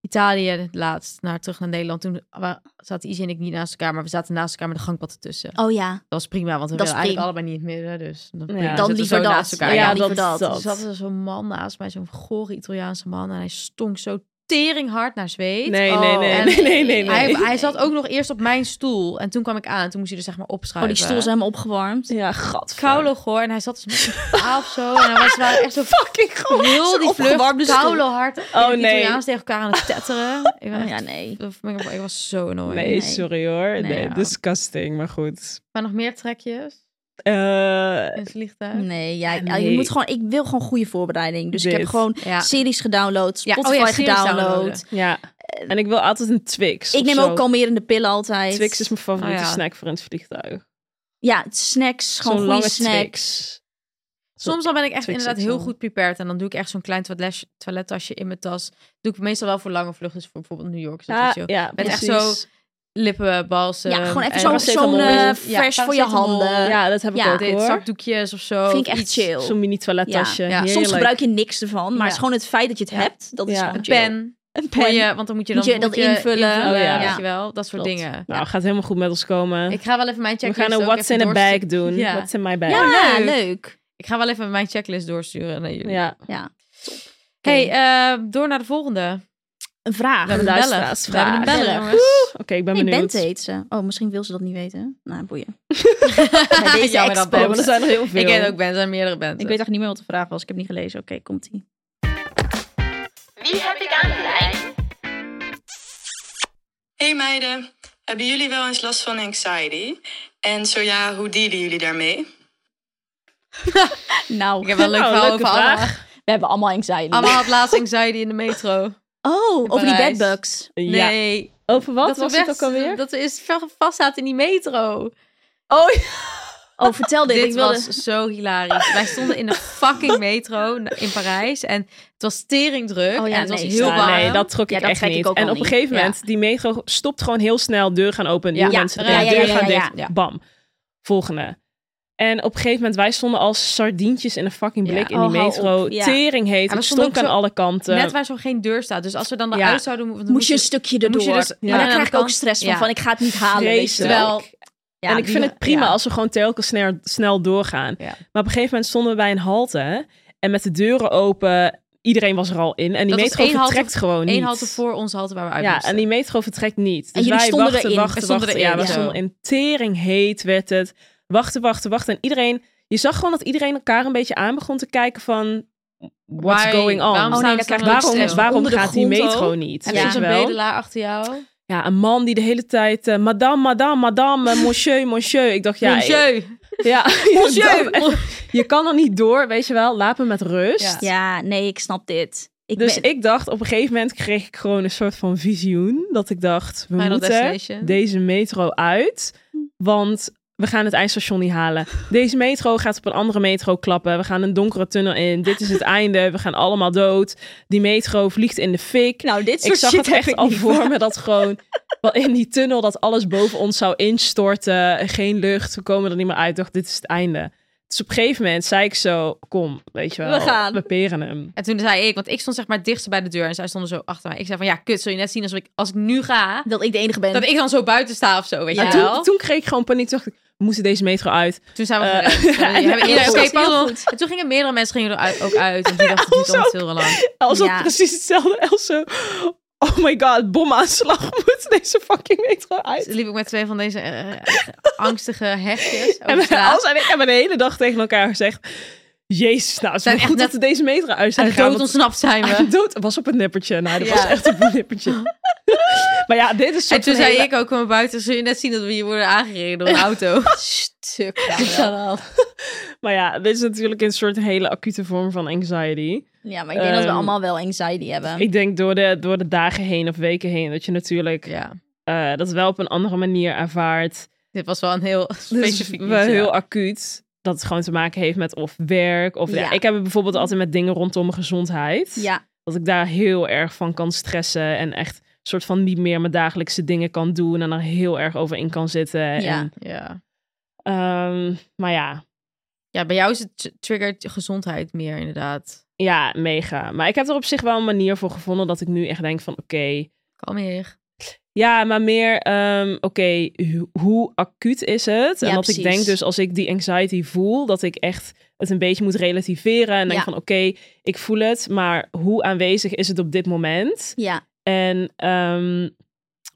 Italië het laatst naar terug naar Nederland. Toen wa- zaten Izzy en ik niet naast elkaar, maar we zaten naast elkaar met de gangpad ertussen. Oh ja, Dat was prima, want we Dat willen is eigenlijk allebei niet in het midden. Dus dat Ja. prima. Dan Zitten we liever zo dat. naast elkaar. Ja, Ja, liever is dat. Dus Er zat er zo'n man naast mij, zo'n gore Italiaanse man. En hij stonk zo teringhard naar zweet. Nee, nee, nee, en- nee, nee, nee, nee. Hij, hij zat ook nog eerst op mijn stoel. En toen kwam ik aan. En toen moest hij dus zeg maar oh, opschuiven. die stoel is helemaal opgewarmd. Ja, gat. Koude goor. En hij zat dus met zijn pa of zo. En hij was wel echt zo Fucking goed. heel die Oh, opgewarmde vlucht. stoel. Koude hard. Oh, nee. Italiaans tegen elkaar aan het tetteren. Ik ben Oh, echt- ja, nee. ik was zo annoying. Nee, Nee. sorry hoor. Nee, Nee, ja. disgusting, maar goed. Maar nog meer trekjes Eh, in het vliegtuig. Nee, ja, ik- Ja, nee. Je moet gewoon, ik wil gewoon goede voorbereiding. Dus ik heb Dit. gewoon Ja. series gedownload, Ja, oh Spotify ja, series gedownload. downloaden. ja. En ik wil altijd een Twix. Ik of neem zo. ook kalmerende pillen altijd. Twix is mijn favoriete Oh, ja. snack voor in het vliegtuig. Ja, snacks, gewoon Zo'n goede lange snacks. Twix. Soms dan ben ik echt Twix inderdaad XL. heel goed prepared. En dan doe ik echt zo'n klein toiletles- toilettasje in mijn tas. Doe ik meestal wel voor lange vluchten. Dus voor bijvoorbeeld New York. is dat Ja, chill. ja, Met echt precies. zo lippen, balsem. Ah. Ja, gewoon even ehm, en- zo'n paracetamol. zo'n, eh, Ja, fresh voor je paracetamol. handen. Ja, dat heb ik Ja. ook Dit, hoor. zakdoekjes of zo. Vind ik echt Iets. chill. Zo'n mini toilettasje. Ja, ja. Soms Soms Heerlijk. gebruik je niks ervan, maar Ja. het is gewoon het feit dat je het Ja. hebt. Dat is Ja. gewoon Een chill. pen. Een Voor pen. je, want dan moet je dan Moet je dat invullen. Oh, ja. Weet je wel, dat soort Klopt. dingen. Nou, gaat helemaal goed met ons komen. Ik ga wel even mijn We checklist gaan een ook what's in even a doorstu- bag doen. Ja. What's in my bag. Ja, Ja, leuk. leuk. Ik ga wel even mijn checklist doorsturen naar jullie. Ja. Hey, eh, door naar de volgende. Een vraag. We hebben een bellen. luisteraars We hebben een vragen. bellen, Bellen. jongens. Oké, ik ben Nee, benieuwd. Bente heet ze. Oh, misschien wil ze dat niet weten. Nou, boeien. Bij deze Jammer dat expo. Ja, maar er zijn er heel veel. Ik ken ook Ben, er zijn meerdere Benten. Ik weet echt niet meer wat de vraag was. Ik heb niet gelezen. Oké, komt-ie. Wie heb ik aan de lijn? Hey meiden, hebben jullie wel eens last van anxiety? En zo ja, hoe dealen jullie daarmee? Nou, Ik heb wel een leuk Nou, verhaal leuke over Anna. vraag. we hebben allemaal anxiety. Anna had laatst anxiety in de metro. Oh, over die Parijs. bedbugs. Ja. Nee. Over wat dat was we het weg- ook alweer? Dat we eerst ver- vast zaten in die metro. Oh, vertel dit. Dit ik wilde... was zo hilarisch. Wij stonden in een fucking metro in Parijs. En het was teringdruk. Oh ja, en het nee, was heel sorry. warm. nee, dat trok Ja, ik dat echt trek ik niet. ook en al op een gegeven niet. moment, die metro stopt gewoon heel snel. Deur gaan open, Ja. nieuwe Ja. mensen Ja, erin, ja, deur ja, gaan ja, dicht. ja. Bam. Volgende. En op een gegeven moment, wij stonden als sardientjes in een fucking blik Ja, in die oh, hou metro. op, ja. Tering heet, we het stonden stonk ook aan zo- alle kanten. Net waar zo geen deur staat. Dus als we dan eruit Ja. zouden moeten... Moest je een stukje dan erdoor. eh, moest je dus- ja, maar aan de daar krijg ik ook kant. stress van. Ja. Van ik ga het niet halen. Vreselijk. weet je wel. Terwijl... Ja, en ik die- vind het prima ja. als we gewoon telkens snel, snel doorgaan. Ja. Maar op een gegeven moment stonden we bij een halte. En met de deuren open, iedereen was er al in. En die Dat was metro één halte- vertrekt gewoon niet. Eén halte voor ons halte waar we uit Ja, moesten. en die metro vertrekt niet. Dus jullie wij stonden wachten, erin. wachten, We stonden wachten. erin, Ja, we ja. stonden in tering heet werd het. Wachten, wachten, wachten. En iedereen, je zag gewoon dat iedereen elkaar een beetje aan begon te kijken van... What's Why- going on? Waarom, Oh staan nee, we dan staan krijg we ik ook Waarom, stress. stil? waarom Onder de gaat die grond metro ook. niet? En weet er Ja. is je een wel? bedelaar achter jou. Ja, een man die de hele tijd... eh, madame, madame, madame, eh, monsieur, monsieur. Ik dacht, ja... Ja, eh, Ja, Monsieur. dan- je kan er niet door, weet je wel. Laat me met rust. Ja. Ja, nee, ik snap dit. Ik Dus ben- ik dacht, op een gegeven moment kreeg ik gewoon een soort van visioen. Dat ik dacht, we Final moeten Destination. Hm. deze metro uit. Want we gaan het eindstation niet halen. Deze metro gaat op een andere metro klappen. We gaan een donkere tunnel in. Dit is het einde. We gaan allemaal dood. Die metro vliegt in de fik. nou, dit soort ik zag shit het echt heb ik al niet. voor me dat gewoon wel in die tunnel dat alles boven ons zou instorten. Geen lucht. We komen er niet meer uit. Ik dacht, dit is het einde. Dus op een gegeven moment zei ik zo, kom, weet je wel. We gaan. We peren hem. En toen zei ik, want ik stond zeg maar dichtst bij de deur en zij stonden zo achter mij. Ik zei van ja, kut, zul je net zien als ik, als ik nu ga, Dat ik de enige ben. dat ik dan zo buiten sta of zo, weet En je wel. toen, toen kreeg ik gewoon paniek. Toen dacht ik, we moeten deze metro uit. Toen zijn we Eh, gerend. Toen hebben we iedereen- goed. oké, Heel pardon. En toen gingen meerdere mensen gingen er uit- ook uit. En die dachten, dit duurt ons allemaal heel lang. Els had Ja. precies hetzelfde. Els zo, oh my god, bomaanslag moet deze fucking metro uit. Dus liep ik met twee van deze eh, angstige hechtjes En over we- Oh, Els straat. en ik hebben de hele dag tegen elkaar gezegd, jezus, nou, het is Zijn maar echt goed net dat we deze metro uit zijn En gegaan. dood ontsnapt zijn want aan we. de dood was op het nippertje. Nou, dat Ja. was echt op het nippertje. maar ja, dit is En soort toen van zei hele- ik ook, kom buiten, zul je net zien dat we hier worden aangereden door een auto. Stuk. Maar ja, dit is natuurlijk een soort hele acute vorm van anxiety. Ja, maar ik denk dat we Ehm, allemaal wel anxiety hebben. Ik denk door de, door de dagen heen of weken heen dat je natuurlijk Ja, eh, dat wel op een andere manier ervaart. dit was wel een heel specifiek dus iets. wel ja. heel acuut. Dat het gewoon te maken heeft met of werk. Of, ja. Ja. Ik heb het bijvoorbeeld altijd met dingen rondom mijn gezondheid. Ja, Dat ik daar heel erg van kan stressen. En echt soort van niet meer mijn dagelijkse dingen kan doen. En er heel erg over in kan zitten. En, ja. Ja. ehm, maar ja, ja, bij jou is het triggert gezondheid meer inderdaad. ja, mega. Maar ik heb er op zich wel een manier voor gevonden. Dat ik nu echt denk van oké. Kom hier. Ja, maar meer, ehm, oké, hu- hoe acuut is het? En Ja, dat ik precies. denk dus als ik die anxiety voel, dat ik echt het een beetje moet relativeren. En denk Ja. van, oké, ik voel het, maar hoe aanwezig is het op dit moment? Ja, En ehm,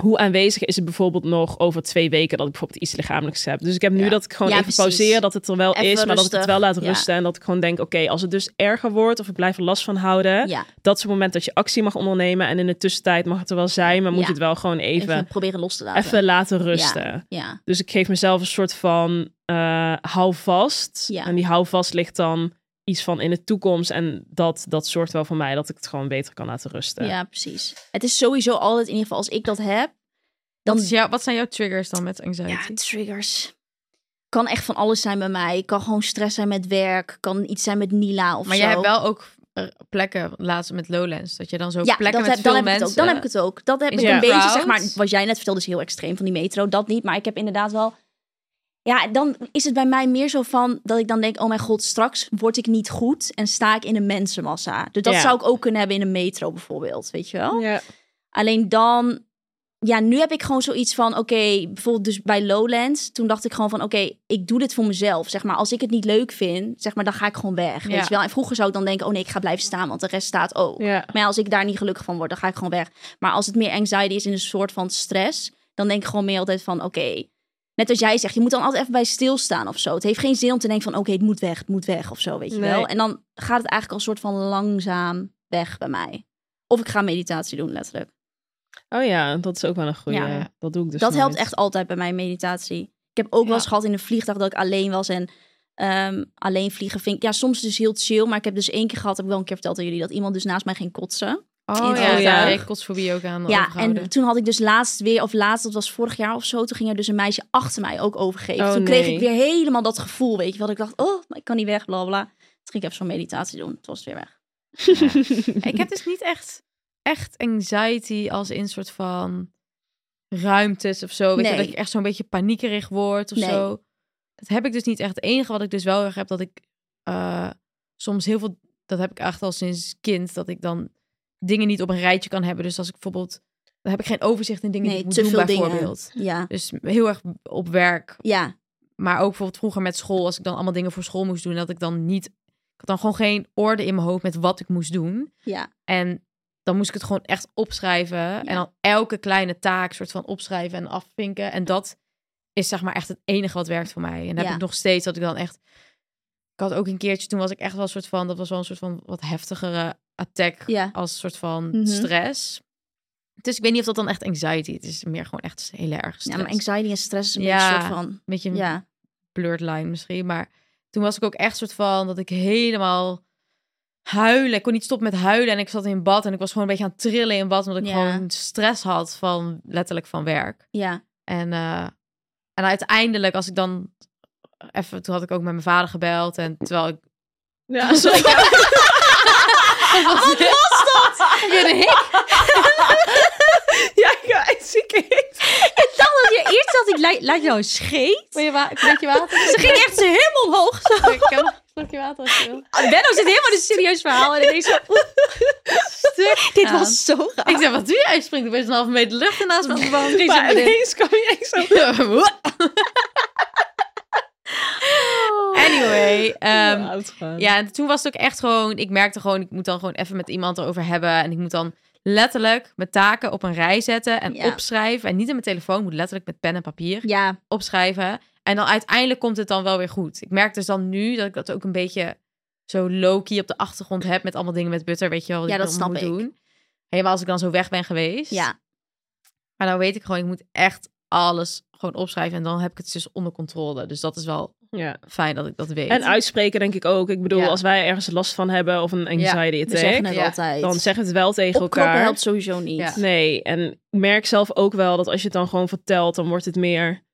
hoe aanwezig is het bijvoorbeeld nog over twee weken dat ik bijvoorbeeld iets lichamelijks heb? Dus ik heb nu dat ik gewoon Ja, even precies. pauzeer, dat het er wel Even is, maar dat ik het rustig, wel laat ja. rusten. En dat ik gewoon denk, oké, als het dus erger wordt of ik blijf er last van houden, ja. dat is het moment dat je actie mag ondernemen. En in de tussentijd mag het er wel zijn, maar moet Ja. je het wel gewoon even Even proberen los te laten. even laten rusten. Ja, Dus ik geef mezelf een soort van eh hou vast. Ja. En die hou vast ligt dan iets van in de toekomst. En dat, dat zorgt wel voor mij dat ik het gewoon beter kan laten rusten. ja, precies. Het is sowieso altijd, in ieder geval als ik dat heb, dan Wat, is jou, wat zijn jouw triggers dan met anxiety? Ja, triggers. Kan echt van alles zijn bij mij. Kan gewoon stress zijn met werk. Kan iets zijn met Nila of maar zo. jij hebt wel ook eh, plekken laatst met Lowlands. Dat je dan zo ja, plekken dat met heb, veel dan heb ik het mensen. ook. Dan heb ik het ook. Dat heb In ik zo'n een beetje, crowd. zeg maar, wat jij net vertelde is heel extreem van die metro. Dat niet, maar ik heb inderdaad wel... Ja, dan is het bij mij meer zo van dat ik dan denk, oh mijn god, straks word ik niet goed en sta ik in een mensenmassa. Dus dat Ja. zou ik ook kunnen hebben in een metro bijvoorbeeld, weet je wel? Ja. Alleen dan, ja, nu heb ik gewoon zoiets van, oké, bijvoorbeeld dus bij Lowlands, toen dacht ik gewoon van, oké, ik doe dit voor mezelf, zeg maar. Als ik het niet leuk vind, zeg maar, dan ga ik gewoon weg, Ja. weet je wel. En vroeger zou ik dan denken, oh nee, ik ga blijven staan, want de rest staat ook. Ja. Maar ja, als ik daar niet gelukkig van word, dan ga ik gewoon weg. Maar als het meer anxiety is in een soort van stress, dan denk ik gewoon meer altijd van, oké, net als jij zegt, je moet dan altijd even bij stilstaan of zo. Het heeft geen zin om te denken van, oké, het moet weg, het moet weg of zo, weet je Nee. wel. En dan gaat het eigenlijk al soort van langzaam weg bij mij. Of ik ga meditatie doen, letterlijk. Oh ja, dat is ook wel een goede. Ja. Dat doe ik dus dat helpt nooit. echt altijd bij mijn meditatie. Ik heb ook wel eens gehad in een vliegtuig dat ik alleen was en ehm, alleen vliegen vind ik. Ja, soms dus heel chill, maar ik heb dus één keer gehad, heb ik wel een keer verteld aan jullie, dat iemand dus naast mij ging kotsen. Oh het ja, vliegtuig. daar heb ik kotsfobie ook aan ja, overgehouden. en toen had ik dus laatst weer, of laatst, dat was vorig jaar of zo, toen ging er dus een meisje achter mij ook overgeven. Oh, toen kreeg nee. ik weer helemaal dat gevoel, weet je wel. dat Ik dacht, oh, maar ik kan niet weg, bla bla. bla. Toen ging ik even zo'n meditatie doen, toen was het weer weg. Ik heb dus niet echt, echt anxiety als in soort van ruimtes of zo. Weet je, Nee. dat ik echt zo'n beetje paniekerig word of Nee. zo. dat heb ik dus niet echt. Het enige wat ik dus wel heel erg heb, dat ik eh, soms heel veel... Dat heb ik echt al sinds kind, dat ik dan dingen niet op een rijtje kan hebben. Dus als ik bijvoorbeeld... Dan heb ik geen overzicht in dingen Nee, die ik moet te doen, veel dingen. bijvoorbeeld. Ja. Dus heel erg op werk. Ja. Maar ook bijvoorbeeld vroeger met school, als ik dan allemaal dingen voor school moest doen, dat ik dan niet... Ik had dan gewoon geen orde in mijn hoofd met wat ik moest doen. Ja. En dan moest ik het gewoon echt opschrijven. En dan elke kleine taak soort van opschrijven en afvinken. En dat is zeg maar echt het enige wat werkt voor mij. En dan Ja. heb ik nog steeds dat ik dan echt... Ik had ook een keertje, toen was ik echt wel een soort van... Dat was wel een soort van wat heftigere attack Ja. als soort van Mhm. stress. Dus ik weet niet of dat dan echt anxiety is. Het is meer gewoon echt heel erg ja, stress. maar anxiety en stress is een Ja. beetje een soort van... Beetje een Ja. blurred line misschien. Maar toen was ik ook echt soort van dat ik helemaal huilen. Ik kon niet stoppen met huilen. En ik zat in bad en ik was gewoon een beetje aan het trillen in bad. Omdat ik Ja. gewoon stress had van letterlijk van werk. Ja. En, eh, en uiteindelijk als ik dan even... Toen had ik ook met mijn vader gebeld. En terwijl ik... Ja, sorry. Wat was dat? ja, ja, ik zie het. Ik dacht dat je eerst dat ik lijk, lijkt jou een scheet. Wil je wa- een beetje water? Ze ging echt helemaal omhoog. Zo. Ah, Ik kan een slokje water als je wil. Benno zit helemaal in een serieus verhaal. En ineens zo... Dit was zo raar. Ik zei, wat doe jij? Je springt opeens een halve meter lucht en naast me op de bank. Geen zin Maar meer in. ineens kwam je echt zo... anyway, ehm, uitgaan. ja, en toen was het ook echt gewoon, ik merkte gewoon, ik moet dan gewoon even met iemand erover hebben. En ik moet dan letterlijk mijn taken op een rij zetten en Ja. opschrijven. En niet in mijn telefoon, ik moet letterlijk met pen en papier Ja. opschrijven. En dan uiteindelijk komt het dan wel weer goed. Ik merk dus dan nu dat ik dat ook een beetje zo low-key op de achtergrond heb met allemaal dingen met butter, weet je wel, wat Ja, ik dat dan snap moet ik. doen. Helemaal als ik dan zo weg ben geweest. Ja. Maar nou weet ik gewoon, ik moet echt alles gewoon opschrijven. En dan heb ik het dus onder controle. Dus dat is wel Ja. fijn dat ik dat weet. En uitspreken denk ik ook. Ik bedoel, Ja. als wij ergens last van hebben of een anxiety We zeggen attack, het Ja. altijd. dan zeg het wel tegen Opkroppen elkaar. helpt sowieso niet. Ja. Nee, en ik merk zelf ook wel dat als je het dan gewoon vertelt, dan wordt het meer,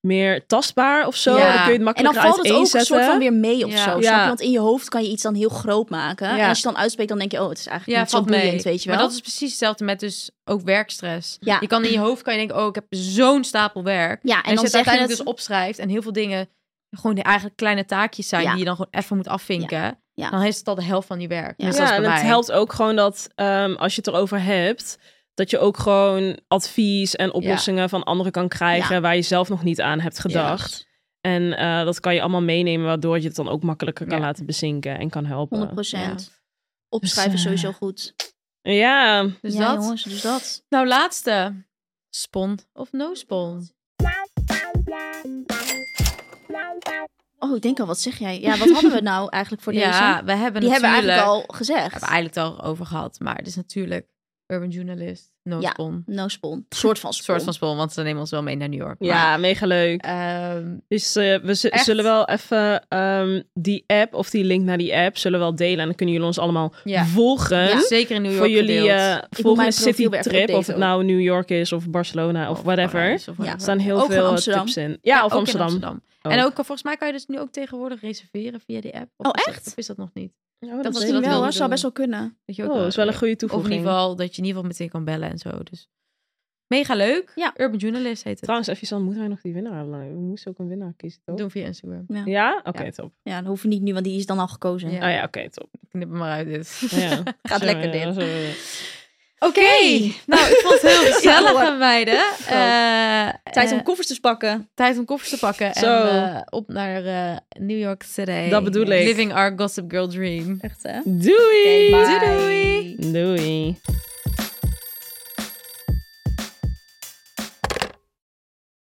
meer tastbaar of zo. Ja. Dan kun je het En dan makkelijker valt het ook een soort van uiteenzetten. weer mee of Ja. zo. snap je? Ja. Want in je hoofd kan je iets dan heel groot maken. Ja. En als je dan uitspreekt, dan denk je, oh, het is eigenlijk niet zo boeiend, weet je wel. Maar dat is precies hetzelfde met dus ook werkstress. Ja. Je kan in je hoofd kan je denken, oh, ik heb zo'n stapel werk. Ja, en, En, als dan je het zeg je uiteindelijk het... dus opschrijft en heel veel dingen gewoon de eigenlijk kleine taakjes zijn Ja. die je dan gewoon even moet afvinken. Ja. Dan is het al de helft van je werk. Ja. Dus dat Ja, is en bij het mij. helpt ook gewoon dat ehm, als je het erover hebt, dat je ook gewoon advies en oplossingen van anderen kan krijgen waar je zelf nog niet aan hebt dus gedacht. En eh, dat kan je allemaal meenemen, waardoor je het dan ook makkelijker kan Ja. laten bezinken en kan helpen. 100 Opschrijven Dus, is eh, sowieso goed. Ja, Dus ja, dat. jongens, dus dat. Nou, laatste. Spon of no spon? Oh, ik denk al, wat zeg jij? Ja, wat hadden we nou eigenlijk voor deze? ja, we hebben natuurlijk... Die hebben we eigenlijk al we hebben gezegd. eigenlijk het al over gehad. Maar het is natuurlijk Urban Journalist, no Ja. spon. Een No spon. Soort van spon. soort van spon, want ze nemen ons wel mee naar New York. ja mega leuk. Maar, ehm, Dus eh, we z- Echt? zullen wel even ehm, die app of die link naar die app zullen we wel delen. En dan kunnen jullie ons allemaal Ja. volgen. Ja, zeker in New York voor jullie gedeeld. eh mijn volgende profiel weer city even trip. Of updaten het nou New York is of Barcelona eh, of, whatever. Er Parijs of whatever. staan heel Ook van veel eh, Amsterdam. tips in. Ja, of ook in Amsterdam. Oh. En Ook. ook, volgens mij kan je dus nu ook tegenwoordig reserveren via die app. Of Oh, is dat- echt? of is dat nog niet? Ja, Dat dat was is Misschien dat wel, wilden hoor. Zou doen. best wel kunnen. Dat je ook Oh, wel dat is wel een goede Of in toevoeging. ieder geval dat je in ieder geval meteen kan bellen en zo. Dus mega leuk. Ja. Urban Journalist heet het. Trouwens, even dan moeten wij nog die winnaar hebben. We moesten ook een winnaar kiezen, toch? Doen via Instagram. Ja? Oké, Ja. top. Ja, dat hoeven niet nu, want die is dan al gekozen. Ja. Ah ja, oké, top. Ik knip hem maar uit dit. Ja. Gaat Zo, lekker ja, dit. zo, ja. Oké. Nou, ik vond het heel gezellig hoor. aan meiden. Eh, Tijd om eh, koffers te pakken. tijd om koffers te pakken. Zo. En eh, op naar eh, New York City. Dat bedoel ik. Living our Gossip Girl dream. Echt, hè? Doei! Doei, doei. Doei!